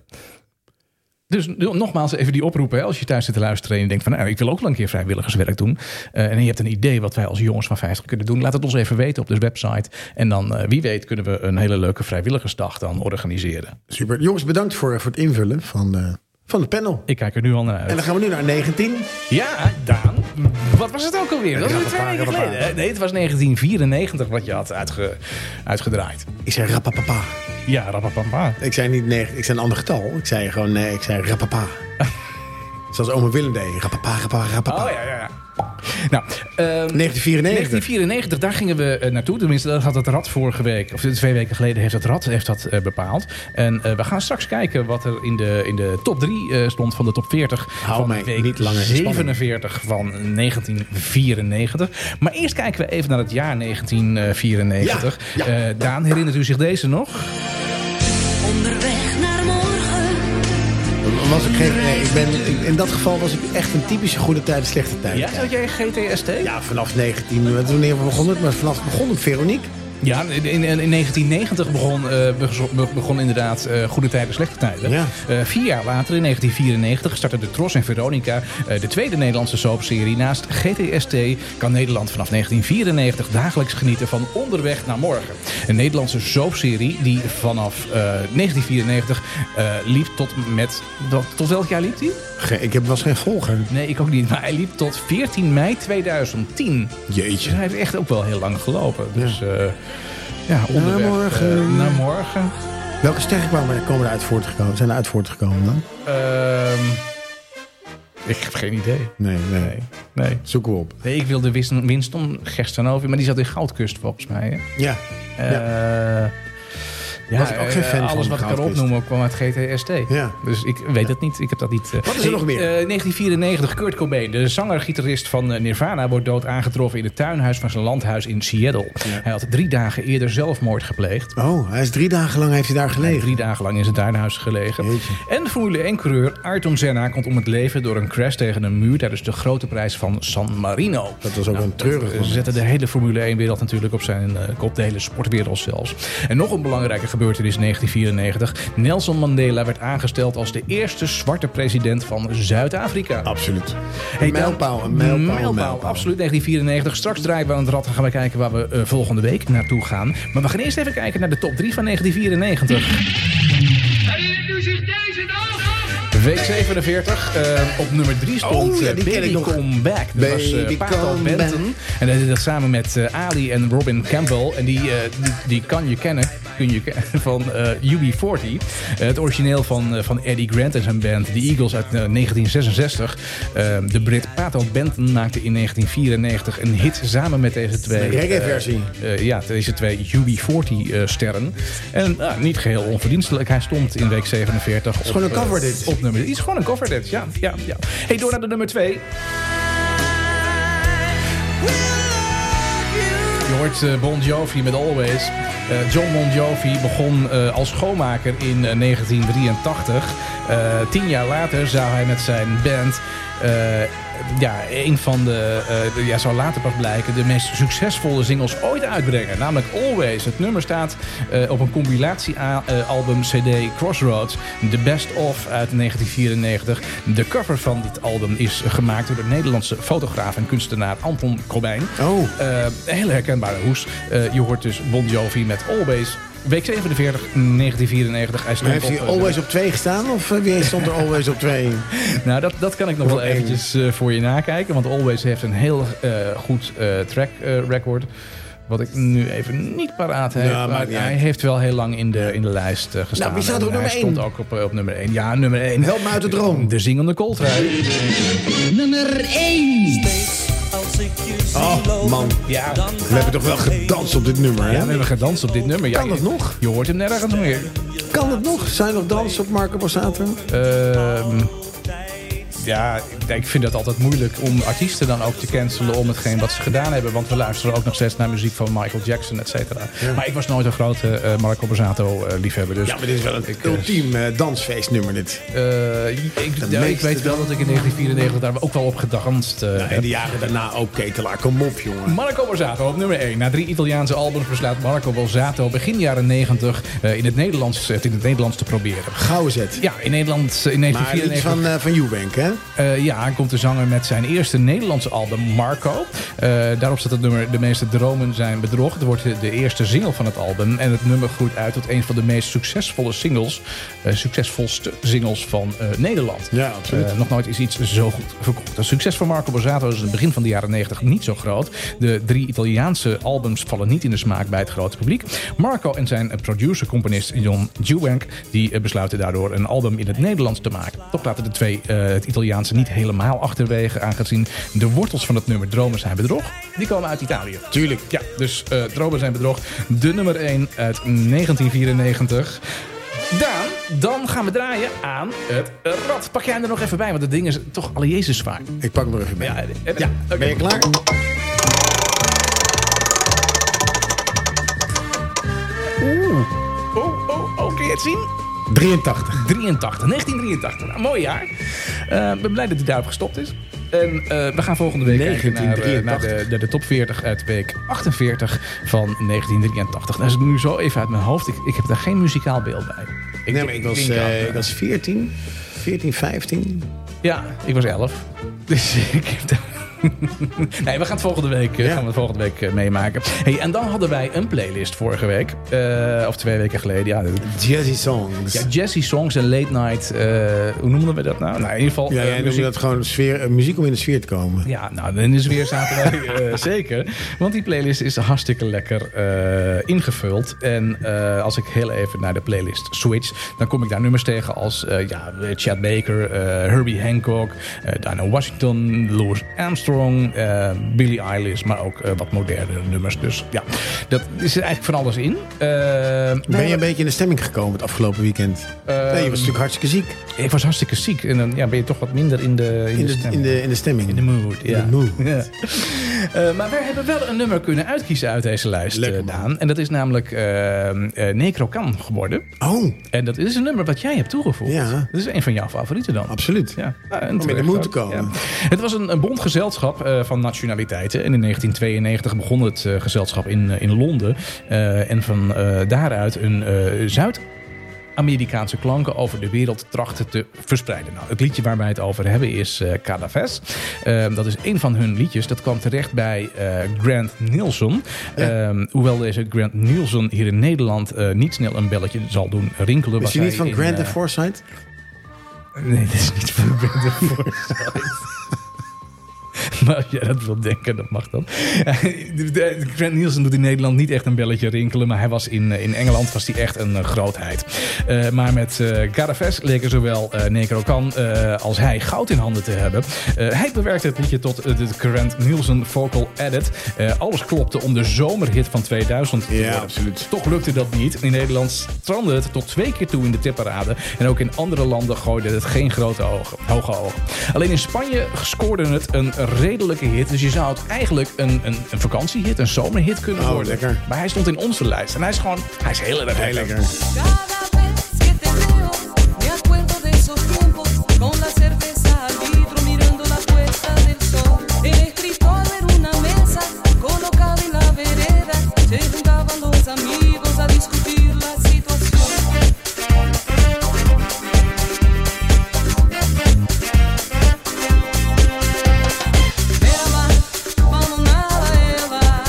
A: Dus nogmaals even die oproep. Hè. Als je thuis zit te luisteren en je denkt van... Nou, ik wil ook wel een keer vrijwilligerswerk doen. Uh, en je hebt een idee wat wij als jongens van 50 kunnen doen. Laat het ons even weten op de website. En dan, uh, wie weet, kunnen we een hele leuke vrijwilligersdag dan organiseren.
B: Super. Jongens, bedankt voor, voor het invullen van, de, van het panel.
A: Ik kijk er nu al naar uit.
B: En dan gaan we nu naar 19.
A: Ja, Daan. Wat was het ook alweer? Dat was nu twee
B: rapapa,
A: weken geleden.
B: rapapa.
A: hè? Nee, het was 1994 wat je had uitge, uitgedraaid.
B: Ik zei rapapapa.
A: Ja, rapapapa.
B: Ik zei niet nee, ik zei een ander getal. Ik zei gewoon nee, ik zei rapapa. Zoals oma Willem deed. Rapapa, rapapa, rapapa.
A: Oh ja, ja, ja. Nou, ehm,
B: 1994.
A: 1994, daar gingen we eh, naartoe. Tenminste, dat had het rad vorige week, of twee weken geleden, heeft het rad heeft dat, eh, bepaald. En eh, we gaan straks kijken wat er in de, in de top 3 stond van de top 40.
B: Hou
A: van
B: mij
A: week
B: niet langer in spanning.
A: 47 van 1994. Maar eerst kijken we even naar het jaar 1994.
B: Ja, ja.
A: Eh, Daan, herinnert u zich deze nog?
C: Onderweg naar morgen.
B: Was ik geen, nee, ik ben, ik- in dat geval was ik echt een typische goede tijd, slechte tijd.
A: Ja, zat jij GTST?
B: Ja, vanaf 19, wat- wanneer begon het? Maar vanaf begon het Veronique.
A: Ja, in, in, in 1990 begon, eh, bezo- be- begon inderdaad eh, Goede Tijden, Slechte Tijden.
B: Ja.
A: Eh, vier jaar later, in 1994, startte de Tros en Veronica eh, de tweede Nederlandse soapserie. Naast GTST kan Nederland vanaf 1994 dagelijks genieten van Onderweg naar Morgen. Een Nederlandse soapserie die vanaf eh, 1994 eh, liep tot met... Tot, tot welk jaar liep die?
B: Ge- ik heb, was geen volger.
A: Nee, ik ook niet. Maar hij liep tot 14 mei 2010. Dus
B: Jeetje.
A: hij heeft echt ook wel heel lang gelopen. Dus ja, ja onderweg eh,
B: morgen.
A: naar morgen.
B: Welke sterren kwamen, komen eruit voortgekomen? Zijn eruit voortgekomen dan?
A: Ehm, ik heb geen idee.
B: Nee, nee.
A: Nee, nee.
B: Zoeken we op.
A: Nee, ik wilde Winston, Winston Gerstenhoven, maar die zat in Goudkust volgens mij. Hè?
B: Ja.
A: Eh,
B: Ja.
A: ja,
B: Was ik ook geen
A: eh,
B: fan van
A: Alles wat ik kan
B: Goudkust.
A: opnoemen kwam uit GTST.
B: Ja.
A: Dus ik weet het niet. Ik heb dat niet. eh.
B: Wat is er
A: Hey,
B: nog meer?
A: eh, 1994, Kurt Cobain, de zanger-gitarist van eh, Nirvana, wordt dood aangetroffen in het tuinhuis van zijn landhuis in Seattle. Hij had drie dagen eerder zelfmoord gepleegd.
B: Oh, hij is drie dagen lang heeft hij daar
A: Hij heeft
B: gelegen.
A: drie dagen lang in zijn tuinhuis gelegen.
B: Jeetje.
A: En Formule 1-coureur Ayrton Senna komt om het leven door een crash tegen een muur tijdens de grote prijs van San Marino.
B: Dat was ook een treurig
A: Ze
B: moment.
A: zetten de hele Formule 1-wereld natuurlijk op zijn eh, kop, de hele sportwereld zelfs. En nog een belangrijke gebeurtenis in 1994. Nelson Mandela werd aangesteld als de eerste zwarte president van Zuid-Afrika.
B: Absoluut.
A: Hey,
B: Een
A: dan-
B: mijlpaal, een mijlpaal, een mijlpaal.
A: absoluut 1994. Straks draaien we aan het rad en gaan we kijken waar we eh, volgende week naartoe gaan. Maar we gaan eerst even kijken naar de top 3 van 1994.
D: Herinnert u zich deze dag?
A: Week 47, eh, op nummer 3 stond
B: Oh, ja,
A: eh,
B: die ken ik
A: Baby
B: nog.
A: Come Back. Dat was eh,
B: Baby
A: Pato
B: Come
A: Benton. En hij deed dat samen met eh, Ali en Robin Campbell. En die, eh, die, die kan je kennen kun je kennen, van eh, UB40. Eh, het origineel van, eh, van Eddie Grant en zijn band The Eagles uit eh, 1966. Eh, de Brit Pato Benton maakte in 1994 een hit samen met deze twee.
B: De
A: eh,
B: reggae-versie.
A: eh, ja, deze twee UB40-sterren. en nou, niet geheel onverdienstelijk. Hij stond in week 47 op,
B: gewoon een
A: eh,
B: cover dit.
A: op nummer. Het is gewoon een cover dit, ja. ja, ja. hey, door naar de nummer 2. Je hoort eh, Bon Jovi met Always. Eh, John Bon Jovi begon eh, als schoonmaker in eh, 1983. Eh, tien jaar later zou hij met zijn band... eh, ja, een van de, eh, de- ja, zou later pas blijken, de meest succesvolle singles ooit uitbrengen. Namelijk Always. Het nummer staat eh, op een eh, compilatiealbum CD Crossroads. The Best Of uit 1994. De cover van dit album is gemaakt door de Nederlandse fotograaf en kunstenaar Anton Corbijn.
B: Oh.
A: Eh, een hele herkenbare hoes. Eh, je hoort dus Bon Jovi met Always. Week 47, 1994. Hij stond
B: Maar heeft
A: op,
B: hij
A: eh,
B: always op twee gestaan? Of eh, wie stond er always op twee?
A: de- Nou, dat, dat kan ik nog wel
B: één.
A: eventjes eh, voor je nakijken. Want Always heeft een heel eh, goed eh, track eh, record. Wat ik nu even niet paraat heb.
B: Ja,
A: maar
B: Nou, maakt niet
A: hij
B: uit. Nou,
A: heeft wel heel lang in de, in de lijst eh, gestaan.
B: wie staat er
A: En
B: op nummer
A: hij
B: één?
A: stond ook op, eh, op nummer 1. Ja, nummer 1.
B: Help me uit de droom.
A: De zingende kooltrui.
B: Nummer 1. Oh, man.
A: Ja,
B: We hebben toch wel gedanst op dit nummer,
A: ja, we
B: hè?
A: hebben gedanst op dit nummer. Ja,
B: Kan dat
A: je-
B: nog?
A: Je hoort hem nergens meer.
B: Kan het nog? Zijn er nog dansen op Marco Borsato?
A: Ehm, ja, ik- ik vind dat altijd moeilijk om artiesten dan ook te cancelen om hetgeen wat ze gedaan hebben. Want we luisteren ook nog steeds naar muziek van Michael Jackson, et cetera. Maar ik was nooit een grote eh, Marco Borsato eh, liefhebber. Dus
B: Ja, maar dit is wel een
A: ik, eh,
B: ultiem eh, dansfeestnummer dit.
A: eh, ik, ja, ik
B: meeste
A: weet wel dat ik in 1994 daar ook wel op gedanst eh,
B: En
A: heb.
B: de jaren daarna ook ketelaar. Kom op, jongen.
A: Marco Borsato op nummer 1. Na drie Italiaanse albums besluit Marco Borsato begin jaren 90 eh, in het Nederlands, het in het Nederlands te proberen.
B: Gauw zet.
A: Ja, in Nederland eh, in
B: Maar iets
A: 1994.
B: van, eh van Eubank, hè?
A: Eh, ja, komt de zanger met zijn eerste Nederlandse album, Marco. Eh, daarop staat het nummer De meeste dromen zijn bedrog. Het wordt de, de eerste single van het album. En het nummer groeit uit tot een van de meest succesvolle singles. eh, succesvolste singles van eh, Nederland.
B: Ja, absoluut.
A: Eh, nog nooit is iets zo goed verkocht. Het succes van Marco Borsato is in het begin van de jaren 90 niet zo groot. De drie Italiaanse albums vallen niet in de smaak bij het grote publiek. Marco en zijn producer-componist John Dewey die eh, besluiten daardoor een album in het Nederlands te maken. Toch laten de twee eh, het Italiaanse niet helemaal achterwege, aangezien de wortels van het nummer Dromen zijn bedrog, die komen uit Italië.
B: Tuurlijk.
A: Ja, dus eh, Dromen zijn bedrog, de nummer 1 uit 1994. Dan, dan gaan we draaien aan het rad. Pak jij hem er nog even bij, want het ding is toch alle Jezus zwaar.
B: Ik pak hem er even bij.
A: Ja,
B: Ja,
A: eh, oké.
B: ben je klaar?
A: Oh, oh, oh, kun je het zien?
B: 83.
A: 83, 1983. Nou, mooi jaar. Eh, Ik ben blij dat hij daarop gestopt is. En eh, we gaan volgende week kijken naar, eh, naar, de,
B: 1983.
A: naar de top 40 uit week 48 van 1983. Nou, is het nu zo even uit mijn hoofd. Ik, ik heb daar geen muzikaal beeld bij. Ik,
B: Nee, maar ik was,
A: denk aan,
B: eh,
A: eh,
B: ik was 14. 14, 15.
A: Ja, ik was 11. Dus ik heb daar... Nee, we gaan het volgende week, eh,
B: Ja.
A: gaan we het volgende week eh, meemaken. Hey, en dan hadden wij een playlist vorige week. Eh, of twee weken geleden. Ja, dat-
B: Jazzy songs.
A: ja
B: Ja,
A: jazzy songs en late night. eh, hoe noemden we dat nou? Nou, in ieder geval eh,
B: jij noemde
A: muziek-
B: dat gewoon sfeer, eh, muziek om in de sfeer te komen.
A: Ja, nou, dan is weer zaterdag eh, zeker. Want die playlist is hartstikke lekker eh, ingevuld. En eh, als ik heel even naar de playlist switch, dan kom ik daar nummers tegen als eh, ja, Chad Baker, eh, Herbie Hancock, eh Dino Washington, Louis Armstrong, eh Billie Eilish, maar ook eh, wat modernere nummers. Dus ja, dat is er eigenlijk van alles in. Eh,
B: Ben je een beetje in de stemming gekomen het afgelopen weekend?
A: Ehm,
B: nee, je was natuurlijk hartstikke ziek.
A: ik was hartstikke ziek en dan ja, ben je toch wat minder in de, in
B: In
A: de,
B: de,
A: stemming.
B: in de, in de stemming.
A: In de mood, ja.
B: de mood.
A: Ja. Eh, maar wij hebben wel een nummer kunnen uitkiezen uit deze lijst,
B: Lekker,
A: eh,
B: man.
A: Daan. En dat is namelijk eh eh, Necrocan geworden.
B: Oh,
A: En dat is een nummer wat jij hebt toegevoegd.
B: Ja.
A: Dat is een van jouw favorieten dan.
B: absoluut.
A: Ja, ja, en
B: Ah, Om in de
A: terecht
B: mood te
A: ook,
B: komen.
A: ja. Het was een, een bond gezelschap eh, van nationaliteiten. En in 1992 begon het eh, gezelschap in, eh, in Londen. Eh, en van eh, daaruit een eh, Zuid- Amerikaanse klanken over de wereld trachten te verspreiden. Nou, het liedje waar wij het over hebben is eh Cadaves. Ehm, dat is een van hun liedjes. Dat kwam terecht bij eh, Grant Nielsen. Ehm, hoewel deze Grant Nielsen hier in Nederland eh, niet snel een belletje zal doen rinkelen. was
B: Is je niet
A: hij
B: van
A: in,
B: Grant en
A: eh,
B: Forsyth?
A: Nee, dat is niet van Brandon Forsyth. Maar als jij dat wilt denken, dat mag dan. De- de- Grant Nielsen doet in Nederland niet echt een belletje rinkelen. Maar hij was in, eh, in Engeland was hij echt een eh, grootheid. Eh, maar met eh Caraves leken zowel eh Necro Khan eh, als hij goud in handen te hebben. Eh, hij bewerkte het liedje tot eh, de Grant Nielsen vocal edit. Eh, alles klopte om de zomerhit van 2000 te
B: Ja,
A: worden.
B: absoluut.
A: Toch lukte dat niet. In Nederland strandde het tot twee keer toe in de tipparade. En ook in andere landen gooide het geen grote ogen, hoge ogen. Alleen in Spanje scoorde het een redelijke hit. Dus je zou het eigenlijk een, een, een vakantiehit, een zomerhit kunnen
B: Oh,
A: worden.
B: lekker.
A: Maar hij stond in onze lijst. En hij is gewoon, hij is heel erg
B: Heel lekker.
C: Cada vez que te veo, me acuerdo de esos tiempos, con la cerveza al litro mirando la puesta del sol. El escritorio era una mesa colocada en la vereda, se juntaban los amigos a discutir la situación. Ela, vamos na ela,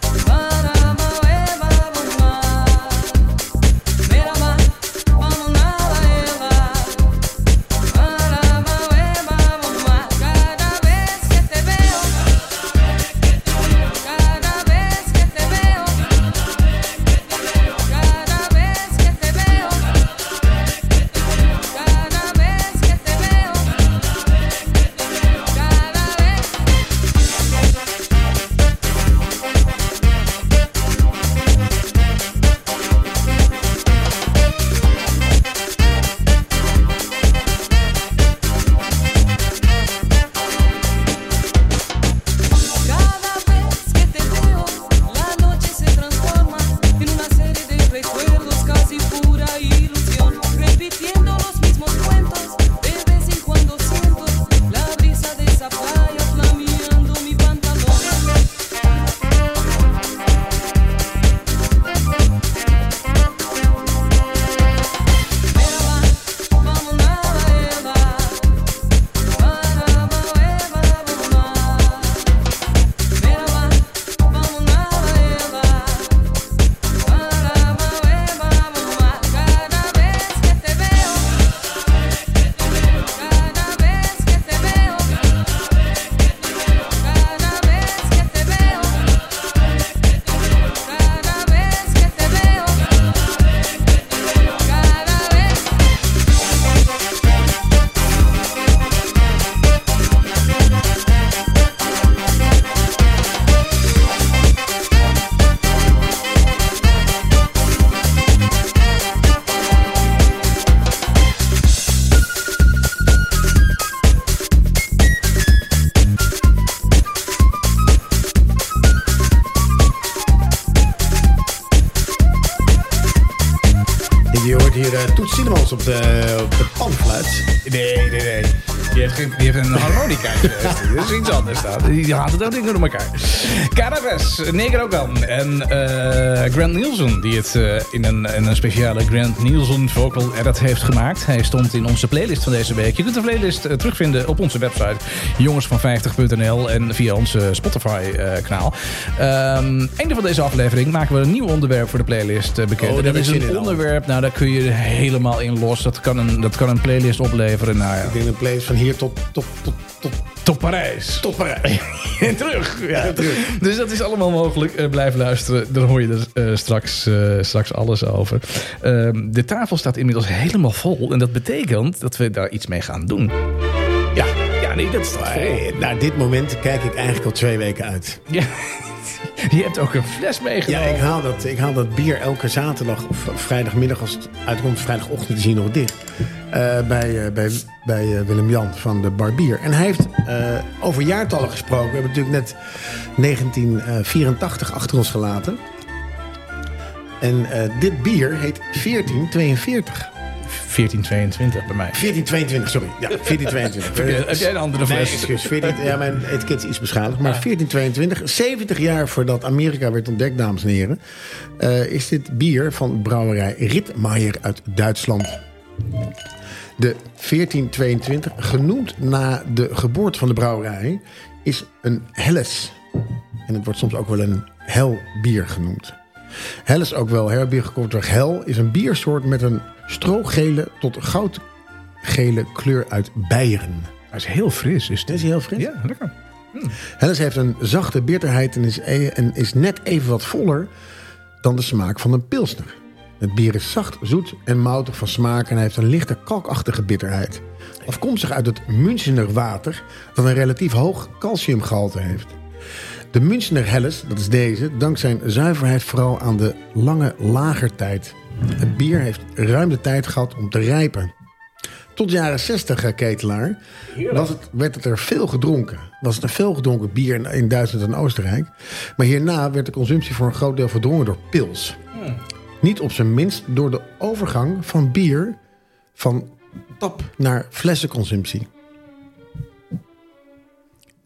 C: para a ela, vamos lá.
B: Je hoort hier eh Toet Sinemans op de, op de panfluit.
A: Nee, nee, nee. Die heeft, geen, die heeft een harmonica. dat is iets anders dan. Die haalt dat ding door elkaar. Cannabis, Negrogan en eh, Grant Nielsen. Die het eh, in, een, in een speciale Grant Nielsen vocal edit heeft gemaakt. Hij stond in onze playlist van deze week. Je kunt de playlist eh, terugvinden op onze website jongensvan50.nl en via onze Spotify eh, kanaal. Ehm einde van deze aflevering maken we een nieuw onderwerp voor de playlist eh, bekend.
B: Oh, daar
A: dat
B: heb
A: is
B: ik
A: een
B: zin in al.
A: onderwerp, nou daar kun je helemaal in los. Dat kan een, dat kan een playlist opleveren. Nou ja.
B: Ik denk een playlist van hier tot, tot, tot, tot,
A: Tot Parijs.
B: tot Parijs.
A: En terug. Ja, terug. Dus dat is allemaal mogelijk. Eh, blijf luisteren. Dan hoor je er eh, straks, eh, straks alles over. Ehm, de tafel staat inmiddels helemaal vol. En dat betekent dat we daar iets mee gaan doen. Ja, ja nee, dat is toch vol.
B: Hey, naar dit moment kijk ik eigenlijk al twee weken uit.
A: Ja. Je hebt ook een fles
B: Ja,
A: meegenomen.
B: ik haal dat, ik haal dat bier elke zaterdag of vrijdagmiddag als het uitkomt. Vrijdagochtend is hier nog dicht. Eh, bij eh, bij, bij eh, Willem-Jan van de Barbier. En hij heeft eh, over jaartallen gesproken. We hebben natuurlijk net 1984 achter ons gelaten. En eh, dit bier heet 1442.
A: 1422 bij mij.
B: 1422, sorry. Ja, 1422.
A: Verkeerd. Heb jij een andere fles? Ah.
B: Nee, excuus. 14, ja, mijn etiket is iets beschadigd. Maar 1422, 70 jaar voordat Amerika werd ontdekt, dames en heren... eh, is dit bier van brouwerij Rittmeier uit Duitsland. De 1422, genoemd na de geboorte van de brouwerij... is een helles. En het wordt soms ook wel een helbier genoemd. Hel is ook wel herbier gekocht door hel. Is een biersoort met een strogele tot goudgele kleur uit Beieren.
A: Hij is heel fris. Is
B: Dit is heel fris.
A: Ja, lekker.
B: Helles heeft een zachte bitterheid en is, e- en is net even wat voller dan de smaak van een pilsner. Het bier is zacht, zoet en moutig van smaak en hij heeft een lichte kalkachtige bitterheid. Afkomstig uit het Münchener water dat een relatief hoog calciumgehalte heeft. De Münchener Helles, dat is deze, dankt zijn zuiverheid vooral aan de lange lagertijd. Het bier heeft ruim de tijd gehad om te rijpen. Tot de jaren 60, eh, ketelaar, was het, werd het er veel gedronken. Was het een veel gedronken bier in, in Duitsland en Oostenrijk. Maar hierna werd de consumptie voor een groot deel verdrongen door pils. Niet op zijn minst door de overgang van bier van tap naar flessenconsumptie.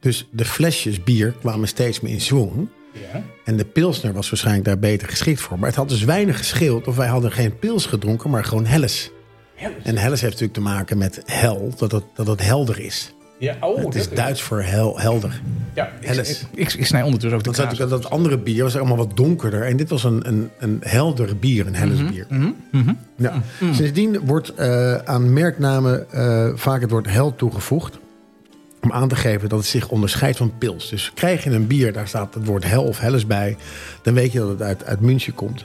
B: Dus de flesjes bier kwamen steeds meer in zwang. En de pilsner was waarschijnlijk daar beter geschikt voor. Maar het had dus weinig gescheeld of wij hadden geen pils gedronken, maar gewoon helles. En helles heeft natuurlijk te maken met hel, dat het, dat het helder is.
A: Ja, oh,
B: Het is Duits voor hel, helder.
A: Ja, ik, ik,
B: Helles.
A: ik, ik snij ondertussen ook de
B: Dat, zat
A: kaas.
B: natuurlijk- dat andere bier was allemaal wat donkerder. En dit was een, een, een helder bier, een helles bier. Ja. Sindsdien wordt eh, aan merknamen eh, vaak het woord hel toegevoegd. Om aan te geven dat het zich onderscheidt van pils. Dus krijg je een bier, daar staat het woord hel of helles bij. Dan weet je dat het uit, uit München komt.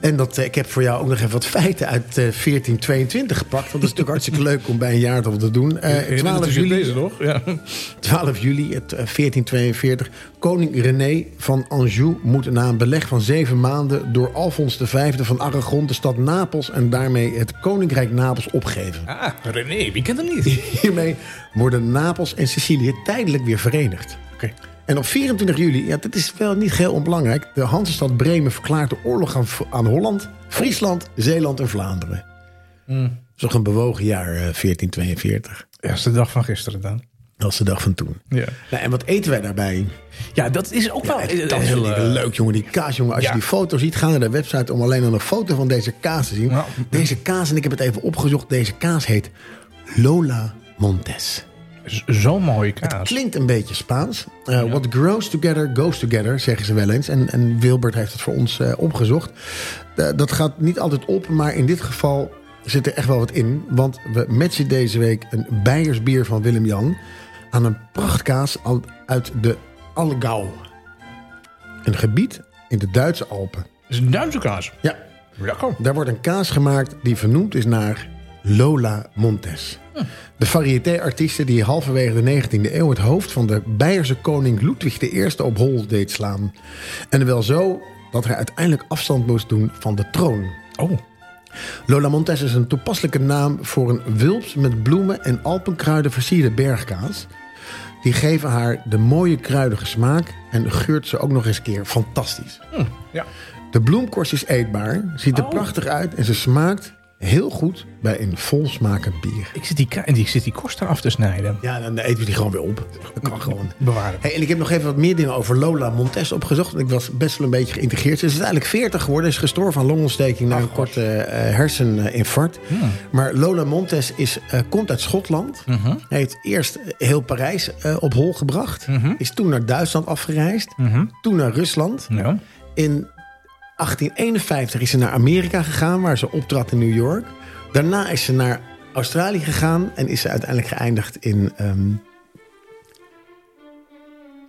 B: En dat, eh, ik heb voor jou ook nog even wat feiten uit eh, 1422 gepakt. Want dat is natuurlijk hartstikke leuk om bij een jaartal te doen. Eh,
A: Ja, dat
B: 12
A: is
B: juli
A: deze, toch? Ja.
B: 12 juli het, eh, 1442. Koning René van Anjou moet na een beleg van zeven maanden... door Alfons V van Aragon de stad Napels... en daarmee het koninkrijk Napels opgeven.
A: Ah, René, wie kent hem niet?
B: Hiermee worden Napels en Sicilië tijdelijk weer verenigd.
A: Oké.
B: En op 24 juli, ja, dit is wel niet heel onbelangrijk... de Hansestad Bremen verklaart de oorlog aan, aan Holland... Friesland, Zeeland en Vlaanderen. Dat is toch een bewogen jaar, eh, 1442.
A: Ja, dat is de dag van gisteren dan.
B: Dat is de dag van toen.
A: Ja.
B: Nou, en wat eten wij daarbij?
A: Ja, dat is ook wel eh,
B: Echt, dat vind ik leuk, jongen. Die kaas, jongen. Als
A: Ja.
B: je die foto ziet, ga naar de website om alleen al een foto van deze kaas te zien.
A: Ja.
B: Deze kaas, en ik heb het even opgezocht, deze kaas heet Lola Montes.
A: Z- Zo'n mooie kaas.
B: Klinkt een beetje Spaans. Eh, What grows together, goes together, zeggen ze wel eens. En, en Wilbert heeft het voor ons eh, opgezocht. Eh, dat gaat niet altijd op, maar in dit geval zit er echt wel wat in. Want we matchen deze week een bijersbier van Willem-Jan... aan een prachtkaas al- uit de Allgäu. Een gebied in de Duitse Alpen.
A: Het is een Duitse kaas.
B: Ja,
A: Lekker.
B: daar wordt een kaas gemaakt die vernoemd is naar Lola Montes. De variété-artiesten die halverwege de 19e eeuw het hoofd van de Beierse koning Ludwig I op hol deed slaan. En wel zo dat hij uiteindelijk afstand moest doen van de troon.
A: Oh,
B: Lola Montes is een toepasselijke naam voor een wulps met bloemen en alpenkruiden versierde bergkaas. Die geven haar de mooie kruidige smaak en geurt ze ook nog eens een keer fantastisch.
A: ja.
B: De De bloemkorst is eetbaar, ziet er prachtig uit en ze smaakt heel goed bij een volsmakend bier.
A: Ik zit die, ka- en die, ik zit die korst eraf te snijden.
B: Ja, dan eten we die gewoon weer op. Dat kan gewoon.
A: Bewaren.
B: Hey, en ik heb nog even wat meer dingen over Lola Montes opgezocht. Want ik was best wel een beetje geïntegreerd. Ze is uiteindelijk 40 geworden. Is gestorven aan longontsteking na een korte eh, herseninfarct. Maar Lola Montes is, eh, komt uit Schotland. Heeft eerst heel Parijs eh, op hol gebracht. Is toen naar Duitsland afgereisd. Toen naar Rusland.
A: Ja.
B: In 1851 is ze naar Amerika gegaan, waar ze optrad in New York. Daarna is ze naar Australië gegaan en is ze uiteindelijk geëindigd in, ehm,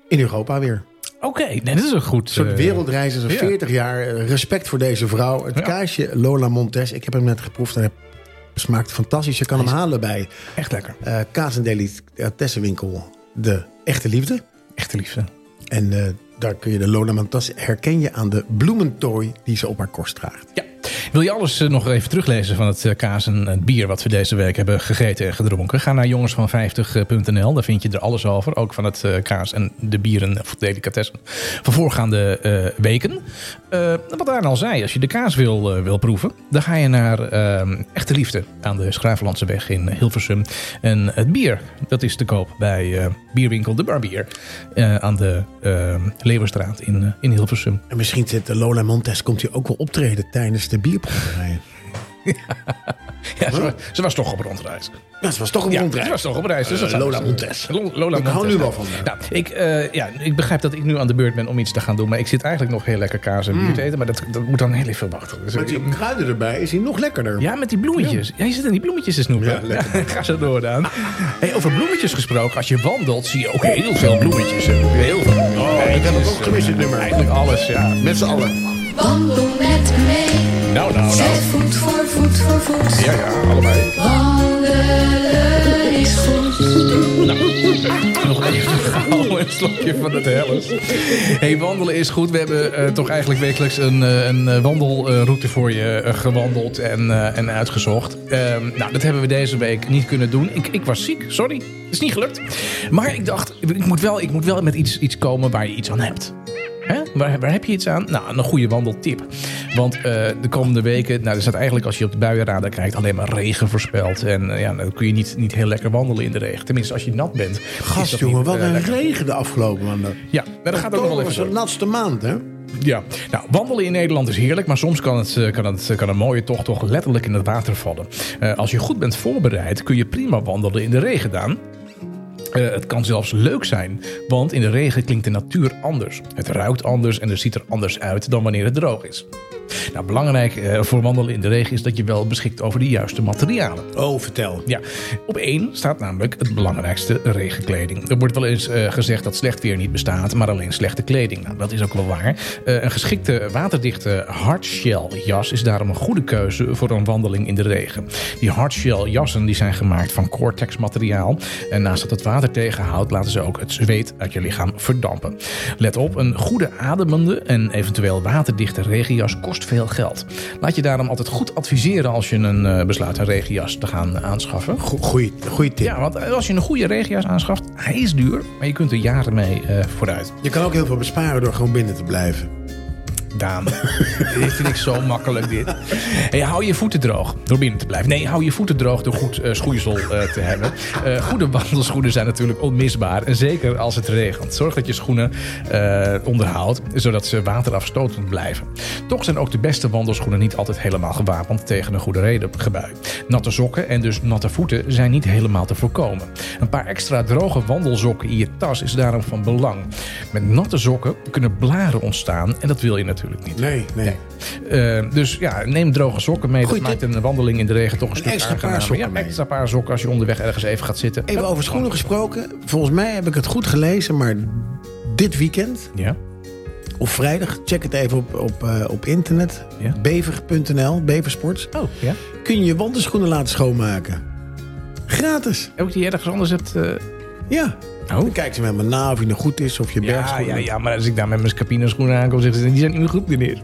B: in Europa weer.
A: Oké, nee, dat is een goed...
B: Een soort
A: eh,
B: wereldreis, zo'n
A: ja.
B: 40 jaar. eh, Respect voor deze vrouw. Het
A: Ja.
B: kaasje Lola Montes, ik heb hem net geproefd en het smaakt fantastisch. Je kan hem halen bij
A: Echt lekker.
B: eh Kaas en Delicatessenwinkel De Echte Liefde.
A: Echte liefde.
B: En eh, daar kun je de Lola Montes herken je aan de bloementooi die ze op haar korst draagt.
A: Ja. Wil je alles eh, nog even teruglezen van het eh, kaas en het bier wat we deze week hebben gegeten en gedronken? Ga naar jongensvan50.nl. Daar vind je er alles over. Ook van het eh, kaas en de bieren of delicatessen van voorgaande eh, weken. Eh, wat Daan al zei, als je de kaas wil, eh, wil proeven, dan ga je naar eh, Echte Liefde aan de Schravenlandse weg in Hilversum. En het bier, dat is te koop bij eh, bierwinkel De Barbier eh, aan de eh Leeuwenstraat in, eh, in Hilversum.
B: En misschien zit eh, Lola Montes komt hier ook wel optreden tijdens de bierproeverijen.
A: Ja, ze, wa- ze was toch op rondreis.
B: Ja, ze was toch een
A: Ja,
B: rondreis.
A: dat was toch op reis. Dus dat
B: Eh,
A: zou-
B: Lola Montes.
A: Lo- Lola
B: Ik hou
A: Montes,
B: nu wel
A: ja.
B: van haar.
A: Nou, ik, eh, ja, ik begrijp dat ik nu aan de beurt ben om iets te gaan doen. Maar ik zit eigenlijk nog heel lekker kaas en bier te eten. Maar dat, dat moet dan heel even wachten. Dus
B: Mm. Met
A: ik-
B: die kruiden erbij is hij nog lekkerder.
A: ja, met die bloemetjes. Ja, je zit in die bloemetjes te snoepen.
B: Ja, lekker.
A: ga zo door, Daan. Hey, over bloemetjes gesproken. Als je wandelt, zie je ook heel veel bloemetjes. Heel veel. Oh,
B: ik heb het ook gemist, dit nummer.
A: Eigenlijk alles, ja.
B: Met z'n allen.
E: Wandel met me mee.
A: Nou, nou, nou.
E: Zet voet voor voet voor voet.
A: Ja, ja, allebei.
E: Wandelen is goed.
A: Nog even gauw een slokje van het helles. Hey, wandelen is goed. We hebben eh, toch eigenlijk wekelijks een, eh, een eh, wandelroute voor je eh, gewandeld en, eh, en uitgezocht. Ehm, nou, dat hebben we deze week niet kunnen doen. Ik, ik was ziek, sorry. Is niet gelukt. Maar ik dacht, ik moet wel, ik moet wel met iets, iets komen waar je iets aan hebt. Hè? Waar, waar heb je iets aan? Nou, een goede wandeltip. Want eh, de komende weken, nou, er staat eigenlijk als je op de buienradar kijkt, alleen maar regen voorspeld. En eh, ja, dan kun je niet, niet heel lekker wandelen in de regen. Tenminste, als je nat bent. is
B: Gast,
A: dat
B: jongen,
A: niet,
B: wat
A: eh,
B: een
A: lekker.
B: regen de afgelopen maanden.
A: Ja, maar dat gaat ook nog wel
B: Oktober
A: even
B: was de
A: door.
B: natste maand, hè?
A: Ja, nou, wandelen in Nederland is heerlijk, maar soms kan, het, eh, kan, het, kan een mooie tocht toch letterlijk in het water vallen. Eh, als je goed bent voorbereid, kun je prima wandelen in de regen, Daan. Eh, het kan zelfs leuk zijn, want in de regen klinkt de natuur anders. Het ruikt anders en het ziet er anders uit dan wanneer het droog is. Nou, belangrijk eh, voor wandelen in de regen is dat je wel beschikt over de juiste materialen.
B: Oh, vertel.
A: Ja, op één staat namelijk het belangrijkste regenkleding. Er wordt wel eens eh, gezegd dat slecht weer niet bestaat, maar alleen slechte kleding. Nou, dat is ook wel waar. Eh, een geschikte waterdichte hardshell jas is daarom een goede keuze voor een wandeling in de regen. Die hardshell jassen die zijn gemaakt van cortex materiaal. En naast dat het water tegenhoudt, laten ze ook het zweet uit je lichaam verdampen. Let op, een goede ademende en eventueel waterdichte regenjas kost veel geld. Laat je daarom altijd goed adviseren als je een eh, besluit een regenjas te gaan aanschaffen.
B: Go- Goeie, goeie tip.
A: Ja, want als je een goede regenjas aanschaft, hij is duur, maar je kunt er jaren mee eh, vooruit.
B: Je kan ook heel veel besparen door gewoon binnen te blijven.
A: Daan, dit vind ik zo makkelijk dit. Hey, hou je voeten droog door binnen te blijven. Nee, hou je voeten droog door goed eh, schoeisel eh, te hebben. Eh, goede wandelschoenen zijn natuurlijk onmisbaar. En zeker als het regent. Zorg dat je schoenen eh, onderhoudt, zodat ze waterafstotend blijven. Toch zijn ook de beste wandelschoenen niet altijd helemaal gewapend tegen een goede redengebui. Natte sokken en dus natte voeten zijn niet helemaal te voorkomen. Een paar extra droge wandelsokken in je tas is daarom van belang. Met natte sokken kunnen blaren ontstaan en dat wil je natuurlijk niet.
B: Nee, nee.
A: Eh, dus ja, neem droge sokken mee.
B: Goeie
A: dat maakt
B: tip.
A: een wandeling in de regen toch een, stuk
B: extra paar
A: aangenamer.
B: sokken
A: ja,
B: mee.
A: extra paar sokken als je onderweg ergens even gaat zitten.
B: Even over schoenen gesproken. Volgens mij heb ik het goed gelezen, maar dit weekend
A: Ja,
B: of vrijdag, check het even op, op, eh, op internet.
A: Ja.
B: Bever.nl, Beversports.
A: oh ja.
B: Kun je je wandelschoenen laten schoonmaken? Gratis.
A: Ook die ergens anders hebt. eh,
B: Ja. Dan kijk ze met me na of hij nog goed is of je
A: Oh. Ja,
B: bergschoenen.
A: ja, ja, maar als ik daar met mijn scapineschoenen aankom, zeggen ze, die zijn niet meer goed, meneer.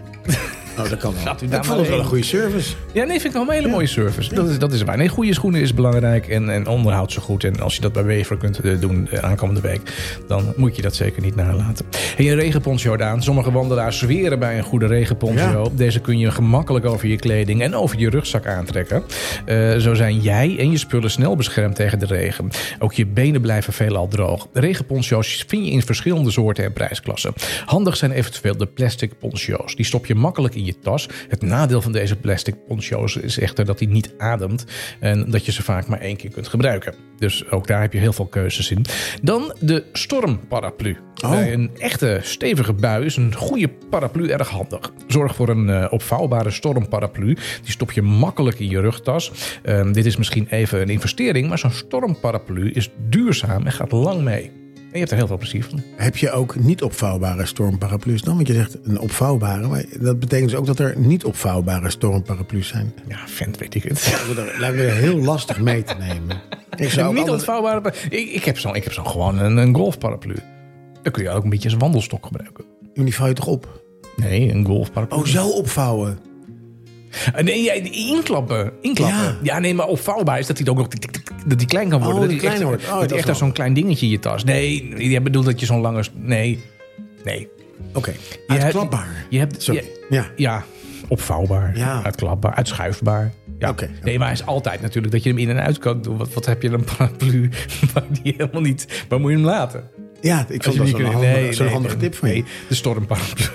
B: Oh, dat kan wel.
A: Gaat u daar
B: ik vond
A: maar
B: het wel
A: heen.
B: een goede service.
A: Ja, nee, vind ik wel een hele mooie service. Dat is, dat is waar. Nee, goede schoenen is belangrijk en, en onderhoud zo goed. En als je dat bij Wever kunt eh, doen eh, aankomende week, dan moet je dat zeker niet nalaten. En je regenponcho, Jordaan. Sommige wandelaars zweren bij een goede regenponcho.
B: Ja.
A: Deze kun je gemakkelijk over je kleding en over je rugzak aantrekken. Eh, zo zijn jij en je spullen snel beschermd tegen de regen. Ook je benen blijven veelal droog. Regenponcho's vind je in verschillende soorten en prijsklassen. Handig zijn eventueel de plastic poncho's. Die stop je makkelijk in je tas. Het nadeel van deze plastic poncho's is echter dat hij niet ademt en dat je ze vaak maar één keer kunt gebruiken. Dus ook daar heb je heel veel keuzes in. Dan de stormparaplu. Eh,
B: Oh.
A: Bij een echte stevige bui is een goede paraplu erg handig. Zorg voor een eh, opvouwbare stormparaplu. Die stop je makkelijk in je rugtas. Ehm, dit is misschien even een investering, maar zo'n stormparaplu is duurzaam en gaat lang mee. En je hebt er heel veel plezier van.
B: Heb je ook niet opvouwbare stormparaplu's dan? Want je zegt een opvouwbare, maar dat betekent dus ook dat er niet opvouwbare stormparaplu's zijn.
A: Ja, vent, weet ik het.
B: Dat lijkt me heel lastig mee te nemen. Ik zou ook
A: niet
B: altijd-
A: ontvouwbare. pa- Ik, ik heb zo'n ik heb zo'n gewoon een, een golfparaplu. Dan kun je ook een beetje als wandelstok gebruiken.
B: Maar Die vouw je toch op?
A: Nee, een golfparaplu.
B: Oh, zo opvouwen.
A: Eh, Nee, ja, inklappen. inklappen. Ja.
B: Ja.
A: nee, maar opvouwbaar is dat hij ook nog tik, tik, tik, dat die klein kan worden.
B: Oh,
A: dat
B: die
A: die echt-
B: klein wordt. Oh,
A: dat
B: dat
A: hij echt
B: wel.
A: als zo'n klein dingetje in je tas. Nee, je bedoelt dat je zo'n lange... s- Nee, nee.
B: Oké,
A: Je hebt-
B: uitklapbaar.
A: Je hebt...
B: Sorry.
A: je-
B: Ja.
A: ja, opvouwbaar.
B: Ja.
A: Uitklapbaar, uitschuifbaar. Ja.
B: Oké.
A: Nee, maar hij is altijd natuurlijk dat je hem in en uit kan doen. Wat, wat heb je dan een paraplu waar die helemaal niet... Waar moet je hem laten?
B: Ja, ik vond dat
A: niet
B: zo'n
A: kunt-
B: handige,
A: nee,
B: zo'n
A: nee,
B: handige
A: nee,
B: tip van je.
A: nee, de stormparaplu.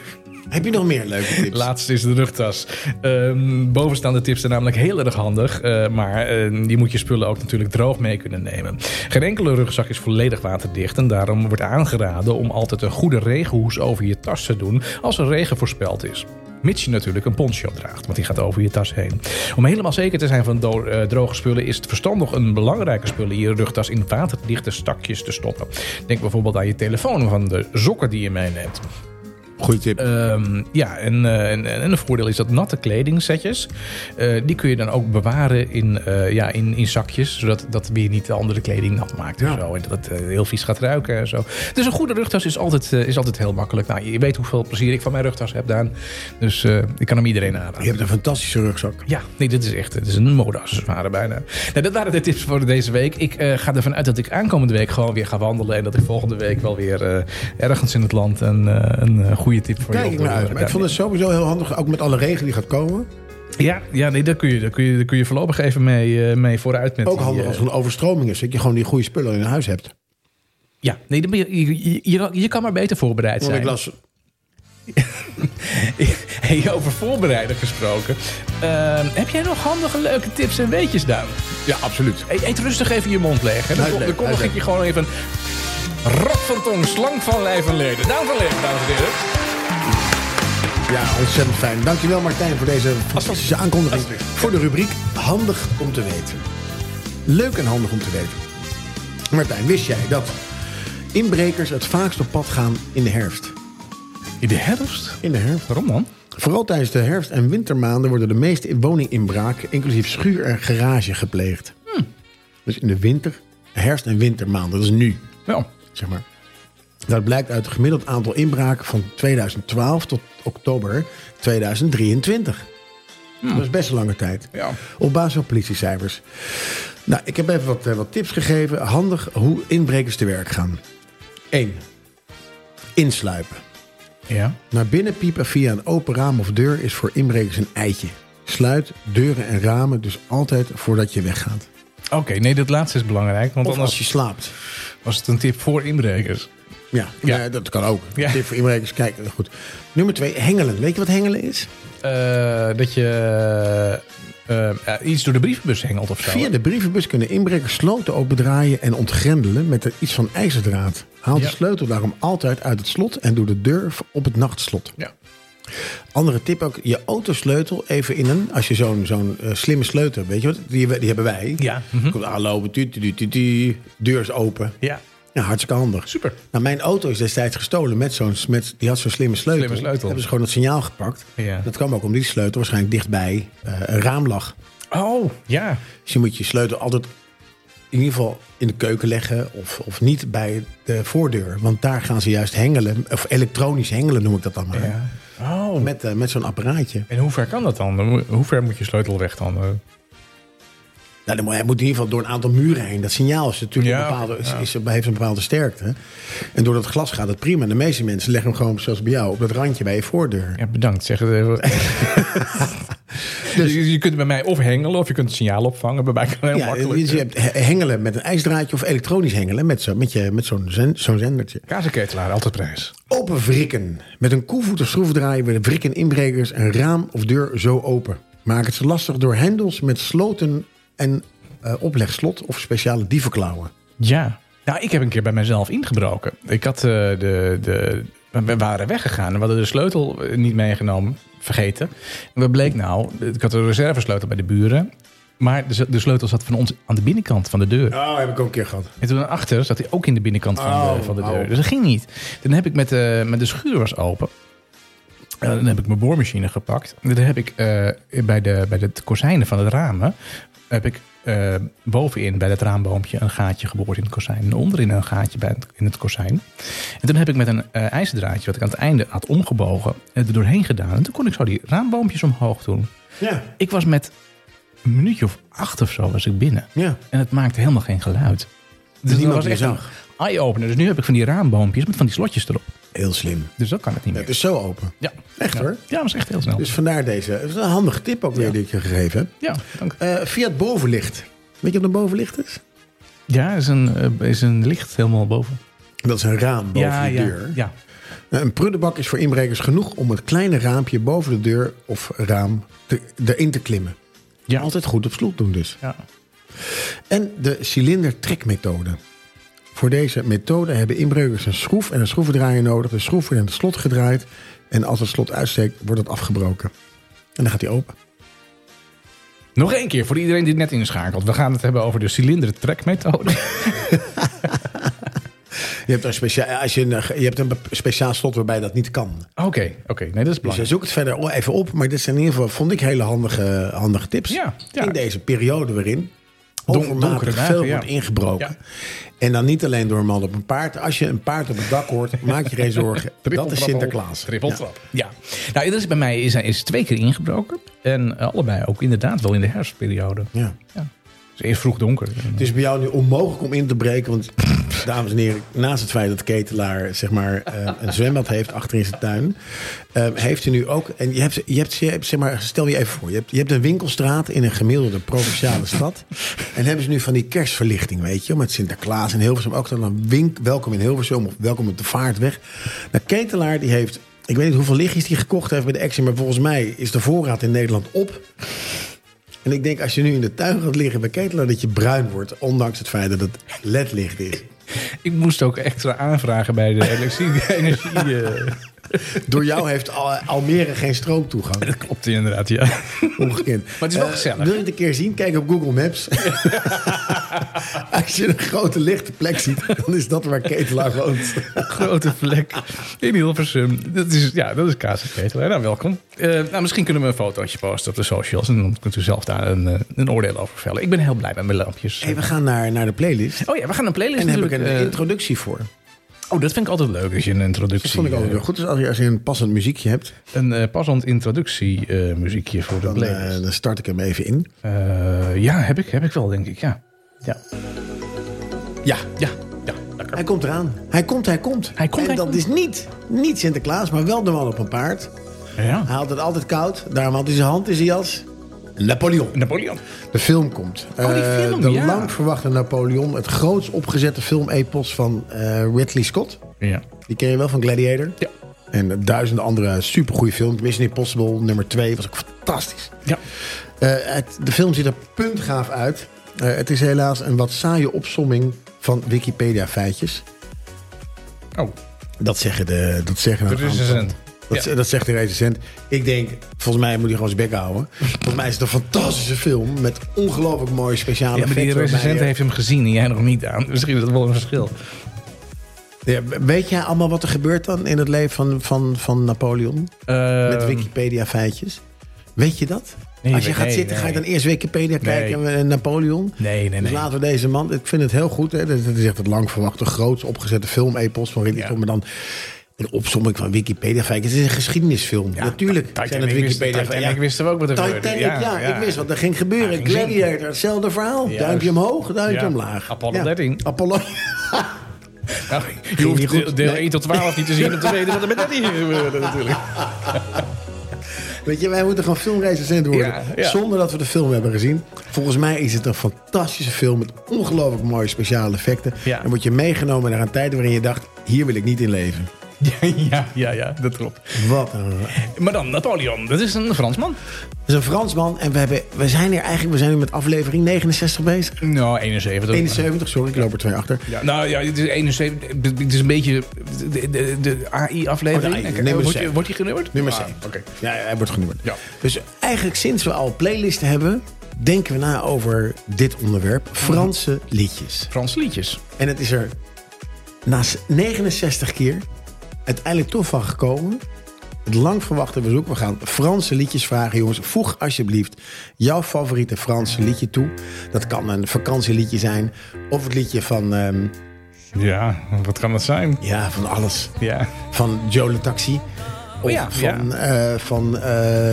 B: Heb je nog meer leuke tips?
A: Laatste is de rugtas. Ehm, bovenstaande tips zijn namelijk heel erg handig. eh, maar ehm, je moet je spullen ook natuurlijk droog mee kunnen nemen. Geen enkele rugzak is volledig waterdicht. En daarom wordt aangeraden om altijd een goede regenhoes over je tas te doen als er regen voorspeld is. Mits je natuurlijk een poncho draagt, want die gaat over je tas heen. Om helemaal zeker te zijn van do- eh, droge spullen, is het verstandig een belangrijke spullen in je rugtas in waterdichte stakjes te stoppen. Denk bijvoorbeeld aan je telefoon van de sokken die je meeneemt.
B: Goeie tip.
A: Ehm, ja, en, eh, en, en een voordeel is dat natte kledingsetjes, eh, die kun je dan ook bewaren in, eh, ja, in, in zakjes, zodat dat weer niet de andere kleding nat maakt en
B: Ja.
A: zo. En dat het eh, heel vies gaat ruiken en zo. Dus een goede rugtas is altijd, eh, is altijd heel makkelijk. Nou, je weet hoeveel plezier ik van mijn rugtas heb, Daan. Dus eh, ik kan hem iedereen aanraden.
B: je hebt een fantastische rugzak.
A: Ja, nee, dit is echt dit is een modeaccessoire bijna. Nou, dat waren de tips voor deze week. Ik eh, ga ervan uit dat ik aankomende week gewoon weer ga wandelen. En dat ik volgende week wel weer eh, ergens in het land een, eh, een eh, goede tip voor
B: Kijk
A: je
B: ik naar
A: wil,
B: uit.
A: eh,
B: Maar ik vond het sowieso heel handig, ook met alle regen die gaat komen.
A: Ja, ja nee, daar, kun je, daar, kun je, daar kun je voorlopig even mee, eh, mee vooruit. Met
B: Ook
A: die,
B: handig
A: eh,
B: als er een overstroming is, dat je gewoon die goede spullen in huis hebt.
A: Ja, nee, dan ben je, je, je- je, je kan maar beter voorbereid
B: Want ik
A: zijn.
B: las,
A: Hey, over voorbereiden gesproken. Eh, heb jij nog handige leuke tips en weetjes, Daan? Ja, absoluut. Eet, eet rustig even je mond leeg. Hè? Dan, kom-
B: Uitleg,
A: dan kondig ik
B: uitleg.
A: je gewoon even... Rap van tong, slang van lijf en leden. Daan van leden, dames en heren.
B: ja, ontzettend fijn. Dankjewel Martijn voor deze fantastische aankondiging.
A: Alsjeblieft.
B: Voor de rubriek Handig om te weten. Leuk en handig om te weten. Martijn, wist jij dat inbrekers het vaakst op pad gaan in de herfst?
A: In de herfst?
B: In de herfst.
A: Waarom dan?
B: Vooral tijdens de herfst- en wintermaanden worden de meeste woninginbraken, inclusief schuur en garage, gepleegd. Dus in de winter, herfst- en wintermaanden, dat is nu,
A: Ja.
B: zeg maar. Dat blijkt uit het gemiddeld aantal inbraken van 2012 tot oktober 2023. Dat is best een lange tijd.
A: Ja.
B: Op basis van politiecijfers. Nou, ik heb even wat, eh, wat tips gegeven. Handig hoe inbrekers te werk gaan. 1. Insluipen.
A: Ja.
B: Naar binnen piepen via een open raam of deur is voor inbrekers een eitje. Sluit deuren en ramen dus altijd voordat je weggaat.
A: Oké, nee, dat laatste is belangrijk. Want
B: Of
A: anders
B: als je slaapt.
A: was het een tip voor inbrekers.
B: Ja,
A: Ja.
B: ja. dat kan ook.
A: Ja.
B: Tip voor inbrekers, kijk, goed. Nummer twee, hengelen. Weet je wat hengelen is?
A: Eh, dat je eh, eh, iets door de brievenbus hengelt of zo.
B: Via de brievenbus kunnen inbrekers sloten opendraaien en ontgrendelen met er iets van ijzerdraad. Haal
A: Ja.
B: de sleutel daarom altijd uit het slot en doe de deur op het nachtslot.
A: Ja.
B: Andere tip ook, je autosleutel even in een... Als je zo'n zo'n eh, slimme sleutel hebt, weet je wat? Die, die hebben wij.
A: Ja, mhm.
B: Komt aanlopen, tu, tu, tu, tu, tu, deur is open.
A: Ja,
B: Ja, hartstikke handig.
A: Super.
B: Nou, mijn auto is destijds gestolen met zo'n... Met, die had zo'n slimme sleutel.
A: Slimme sleutel.
B: Hebben ze gewoon het signaal gepakt.
A: Ja.
B: Dat kwam ook omdat die sleutel waarschijnlijk dichtbij eh, een raam lag.
A: Oh, ja.
B: Dus je moet je sleutel altijd in ieder geval in de keuken leggen of, of niet bij de voordeur. Want daar gaan ze juist hengelen, of elektronisch hengelen noem ik dat dan maar.
A: Ja. Oh.
B: Met, eh, met zo'n apparaatje.
A: En hoe ver kan dat dan? Hoe ver moet je sleutel weg dan? eh?
B: Nou, dan moet- hij moet in ieder geval door een aantal muren heen. Dat signaal is natuurlijk
A: Ja,
B: een bepaalde, is,
A: ja.
B: is- heeft een bepaalde sterkte. En door dat glas gaat het prima. En de meeste mensen leggen hem gewoon, zoals bij jou, op dat randje bij je voordeur.
A: Ja, bedankt. Zeg het even. dus je je kunt bij mij of hengelen of je kunt het signaal opvangen. Bij mij kan heel
B: Ja, dus
A: makkelijk. eh,
B: je hebt he- hengelen met een ijsdraadje of elektronisch hengelen met, zo, met, je, met zo'n, zen- zo'n zendertje.
A: Kazenketelaar, altijd prijs.
B: Open wrikken. Met een koevoet of schroefdraaier willen wrikken inbrekers een raam of deur zo open. Maak het ze lastig door hendels met sloten en eh, oplegslot of speciale dievenklauwen.
A: Ja. Nou, ik heb een keer bij mezelf ingebroken. Ik had eh, de, de... We waren weggegaan en we hadden de sleutel eh, niet meegenomen. Vergeten. En wat bleek nou? Ik had een reservesleutel bij de buren. Maar de, z- de sleutel zat van ons aan de binnenkant van de deur.
B: Oh, heb ik ook een keer gehad.
A: En toen achter zat hij ook in de binnenkant van, de,
B: Oh,
A: van de
B: oh.
A: deur. Dus dat ging niet. Toen heb ik met de, met de schuur was open. En dan heb ik mijn boormachine gepakt. En dan heb ik eh, bij, de, bij de kozijnen van het ramen... heb ik eh, bovenin bij dat raamboompje een gaatje geboord in het kozijn. En onderin een gaatje bij het- in het kozijn. En toen heb ik met een eh, ijzerdraadje wat ik aan het einde had omgebogen... eh, er doorheen gedaan. En toen kon ik zo die raamboompjes omhoog doen.
B: Ja,
A: Ik was met een minuutje of acht of zo was ik binnen.
B: ja.
A: En het maakte helemaal geen geluid. Dus dat
B: niemand
A: was
B: die
A: echt
B: zag.
A: een eye-opener. Dus nu heb ik van die raamboompjes met van die slotjes erop.
B: Heel slim.
A: Dus dat kan het niet
B: Ja,
A: meer.
B: het is zo open.
A: Ja,
B: Echt
A: ja.
B: hoor.
A: Ja, dat is echt heel snel.
B: Dus vandaar deze. Het is een handige tip ook weer die ik je gegeven heb.
A: ja, dank.
B: Eh, via het bovenlicht. Weet je wat een bovenlicht is?
A: Ja, is een, eh, is een licht helemaal boven.
B: Dat is een raam boven
A: ja,
B: de
A: ja,
B: deur.
A: ja.
B: Nou, Een prullenbak is voor inbrekers genoeg om het kleine raampje boven de deur of raam te, erin te klimmen.
A: Ja.
B: Altijd goed op slot doen dus.
A: Ja.
B: En de cilindertrekmethode. Voor deze methode hebben inbrekers een schroef en een schroevendraaier nodig. De schroef wordt in het slot gedraaid en als het slot uitsteekt wordt het afgebroken. En dan gaat hij open.
A: Nog één keer voor iedereen die net inschakelt. We gaan het hebben over de cilindertrekmethode.
B: Je hebt een, specia- als je een, je hebt een bep- speciaal slot waarbij dat niet kan.
A: Oké, oké. Nee, dat is
B: Dus
A: belangrijk.
B: zoek het verder o- even op. Maar dit zijn in ieder geval, vond ik, hele handige, handige tips.
A: Ja, ja.
B: In deze periode waarin
A: Don-
B: overmatig
A: donkere dagen,
B: veel
A: ja.
B: wordt ingebroken.
A: Ja.
B: En dan niet alleen door een man op een paard. Als je een paard op het dak hoort, maak je geen zorgen. Dat is
A: Trippeltrappel.
B: Sinterklaas.
A: Trippeltrap. Ja. Nou, dat is bij mij is, is twee keer ingebroken. En eh, allebei ook inderdaad wel in de herfstperiode.
B: Ja.
A: Ja. Dus eerst vroeg donker.
B: Het is bij jou nu onmogelijk om in te breken. Want, dames en heren, naast het feit dat Ketelaar zeg maar, eh, een zwembad heeft achter in zijn tuin, eh, heeft hij nu ook. En je hebt, je hebt, je hebt, zeg maar, stel je even voor: je hebt, je hebt een winkelstraat in een gemiddelde provinciale stad. En hebben ze nu van die kerstverlichting, weet je, met Sinterklaas en Hilversum. Ook dan een wink, welkom in Hilversum of welkom op de vaartweg. Nou, Ketelaar die heeft. Ik weet niet hoeveel lichtjes hij gekocht heeft bij de Action, maar volgens mij is de voorraad in Nederland op. En ik denk, als je nu in de tuin gaat liggen bij Ketelaar, dat je bruin wordt. Ondanks het feit dat het ledlicht is.
A: Ik moest ook extra aanvragen bij de elektrische energie. eh.
B: Door jou heeft Al- Almere geen stroomtoegang.
A: Dat klopt inderdaad, ja.
B: Ongekend.
A: het is wel
B: Eh,
A: gezellig.
B: wil je het een keer zien? Kijk op Google Maps. als je een grote lichte plek ziet, dan is dat waar Ketelaar woont.
A: Grote vlek in Hilversum. Dat is, ja, dat is kazenketelaar. Nou, welkom. Eh, nou, misschien kunnen we een fotootje posten op de socials. En dan kunt u zelf daar een, eh, een oordeel over vellen. Ik ben heel blij met mijn lampjes.
B: Hey, we gaan naar, naar de playlist.
A: Oh ja, we gaan een playlist
B: En daar heb ik een
A: natuurlijk, eh,
B: introductie voor.
A: Oh, dat vind ik altijd leuk als je een introductie...
B: Dat vond ik altijd
A: eh,
B: wel goed. Dus als je, als je een passend muziekje hebt,
A: Een eh, passend introductiemuziekje muziekje voor de
B: dan, eh,
A: playlist.
B: dan start ik hem even in.
A: Eh, ja, heb ik, heb ik wel, denk ik, ja. Ja,
B: Ja,
A: ja, ja. lekker.
B: Hij komt eraan. Hij komt, hij komt.
A: Hij komt,
B: en
A: hij
B: dat
A: komt.
B: is niet, niet Sinterklaas, maar wel de man op een paard. Hij
A: Ja.
B: had het altijd koud. Daarom had hij zijn hand in zijn jas. Napoleon.
A: Napoleon.
B: De film komt.
A: Oh, die
B: Eh,
A: film,
B: de
A: ja.
B: lang verwachte Napoleon. Het grootst opgezette filmepos van eh, Ridley Scott.
A: Ja.
B: Die ken je wel van Gladiator.
A: Ja.
B: En duizenden andere supergoeie films. Mission Impossible nummer 2 was ook fantastisch.
A: Ja.
B: Eh, het- de film ziet er puntgaaf uit. Eh, het is helaas een wat saaie opsomming van Wikipedia-feitjes.
A: Oh,
B: Dat zeggen de... Dat zeggen
A: de
B: een aantal-
A: recensent.
B: Dat,
A: Ja.
B: dat zegt de recensent. Ik denk, volgens mij moet hij gewoon zijn bek houden. volgens mij is het een fantastische film met ongelooflijk mooie speciale
A: Ja, maar die
B: effecten waarbij
A: recensent
B: je-
A: heeft hem gezien en jij nog niet aan. Dus Misschien is dat wel een verschil.
B: Ja, weet jij allemaal wat er gebeurt dan in het leven van, van, van Napoleon?
A: Eh,
B: met Wikipedia-feitjes? Weet je dat?
A: Nee,
B: Als je
A: nee,
B: gaat zitten,
A: nee.
B: ga je dan eerst Wikipedia kijken en Napoleon?
A: Nee, nee,
B: Dus
A: nee.
B: laten we deze man... Ik vind het heel goed. Hè? Dat is echt het lang verwachte, groots opgezette film-epos van Ridley
A: Ja.
B: Scott. Maar dan een opsomming van Wikipedia. Kijk, het is een geschiedenisfilm. Natuurlijk
A: Titanic
B: zijn het
A: wist-
B: Wikipedia.
A: Titanic wisten we ook wat er
B: Titanic,
A: gebeurde.
B: Ja,
A: Ja, ja.
B: ik wist wat er ging
A: Ja,
B: gebeuren.
A: ging
B: Gladiator,
A: zingen.
B: hetzelfde verhaal.
A: Juist.
B: Duimpje omhoog, duimpje
A: Ja.
B: omlaag.
A: Apollo
B: Ja.
A: 13.
B: Apollo.
A: Nou, je hoeft
B: niet goed.
A: deel, deel
B: Nee.
A: 1 tot 12 niet te zien om te weten wat er met dat hier gebeurde natuurlijk.
B: Weet je, wij moeten gewoon filmrecensent worden.
A: Ja, ja.
B: Zonder dat we de film hebben gezien. Volgens mij is het een fantastische film met ongelooflijk mooie speciale effecten.
A: Ja.
B: En word je meegenomen naar een tijd waarin je dacht, hier wil ik niet in leven.
A: Ja, ja, ja, ja, dat klopt.
B: Wat een...
A: Maar dan Napoleon, dat is een Fransman.
B: Dat is een Fransman en we, hebben, we zijn hier eigenlijk we zijn nu met aflevering 69 bezig.
A: Nou, 71.
B: 71, sorry, ik loop er twee achter.
A: Ja, nou ja, het is 71. Het is een beetje de, de, de AI-aflevering.
B: Oh, de AI,
A: Kijk,
B: nummer
A: wordt, je,
B: zeven.
A: wordt die genummerd?
B: Nummer
A: Ah,
B: 7.
A: Oké.
B: Ja, hij wordt genummerd.
A: Ja.
B: Dus eigenlijk sinds we al playlisten hebben, denken we na over dit onderwerp. Franse liedjes.
A: Frans liedjes.
B: En het is er na 69 keer uiteindelijk toch van gekomen. Het lang verwachte bezoek. We gaan Franse liedjes vragen, jongens. Voeg alsjeblieft jouw favoriete Franse liedje toe. Dat kan een vakantieliedje zijn. Of het liedje van, ehm,
A: Ja, wat kan dat zijn?
B: ja, van alles.
A: Ja.
B: Van Joe Le Taxi. Of
A: Oh ja,
B: van, eh, van eh,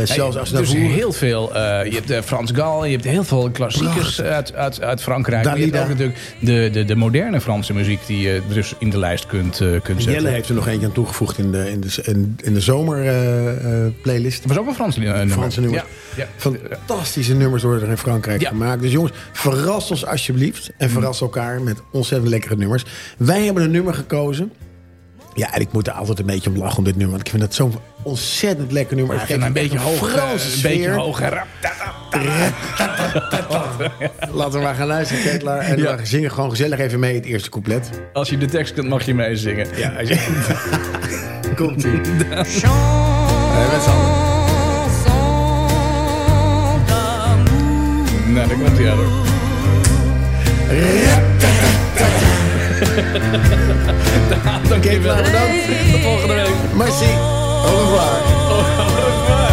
B: zelfs als
A: dus
B: Navour.
A: heel veel. eh, je hebt eh, Frans Gal, je hebt heel veel klassiekers uit, uit, uit Frankrijk. Maar Je hebt
B: Dalida.
A: ook natuurlijk de, de, de moderne Franse muziek die je dus in de lijst kunt, eh, kunt zetten.
B: Jelle heeft er nog eentje aan toegevoegd in de, in de, in, in de eh, zomerplaylist.
A: Dat was ook een Frans li- eh, nummer.
B: Franse nummers.
A: Ja, Eh, ja.
B: Fantastische nummers worden er in Frankrijk
A: Ja. Mm.
B: gemaakt. Dus jongens, verras ons alsjeblieft. En verras elkaar met ontzettend lekkere nummers. Wij hebben een nummer gekozen. Ja, en ik moet er altijd een beetje om lachen om dit nummer. Want ik vind dat zo'n ontzettend lekker nummer. Het
A: En
B: geeft
A: een beetje
B: echt een
A: hoog. eh,
B: Franse
A: Een beetje
B: sfeer.
A: hoog. Rap, ta, ta, ta.
B: Laten we maar gaan luisteren, Ketelaar. En
A: Ja.
B: we zingen gewoon gezellig even mee het eerste couplet.
A: Als je de tekst kunt, mag je meezingen.
B: Ja, komt ie.
C: Eh, Chanson d'amour.
A: Nou, dat komt hij aan. hoor. Dankjewel.
B: Ketelaar, bedankt.
A: Tot volgende week.
B: Merci. Au revoir.
A: Oh,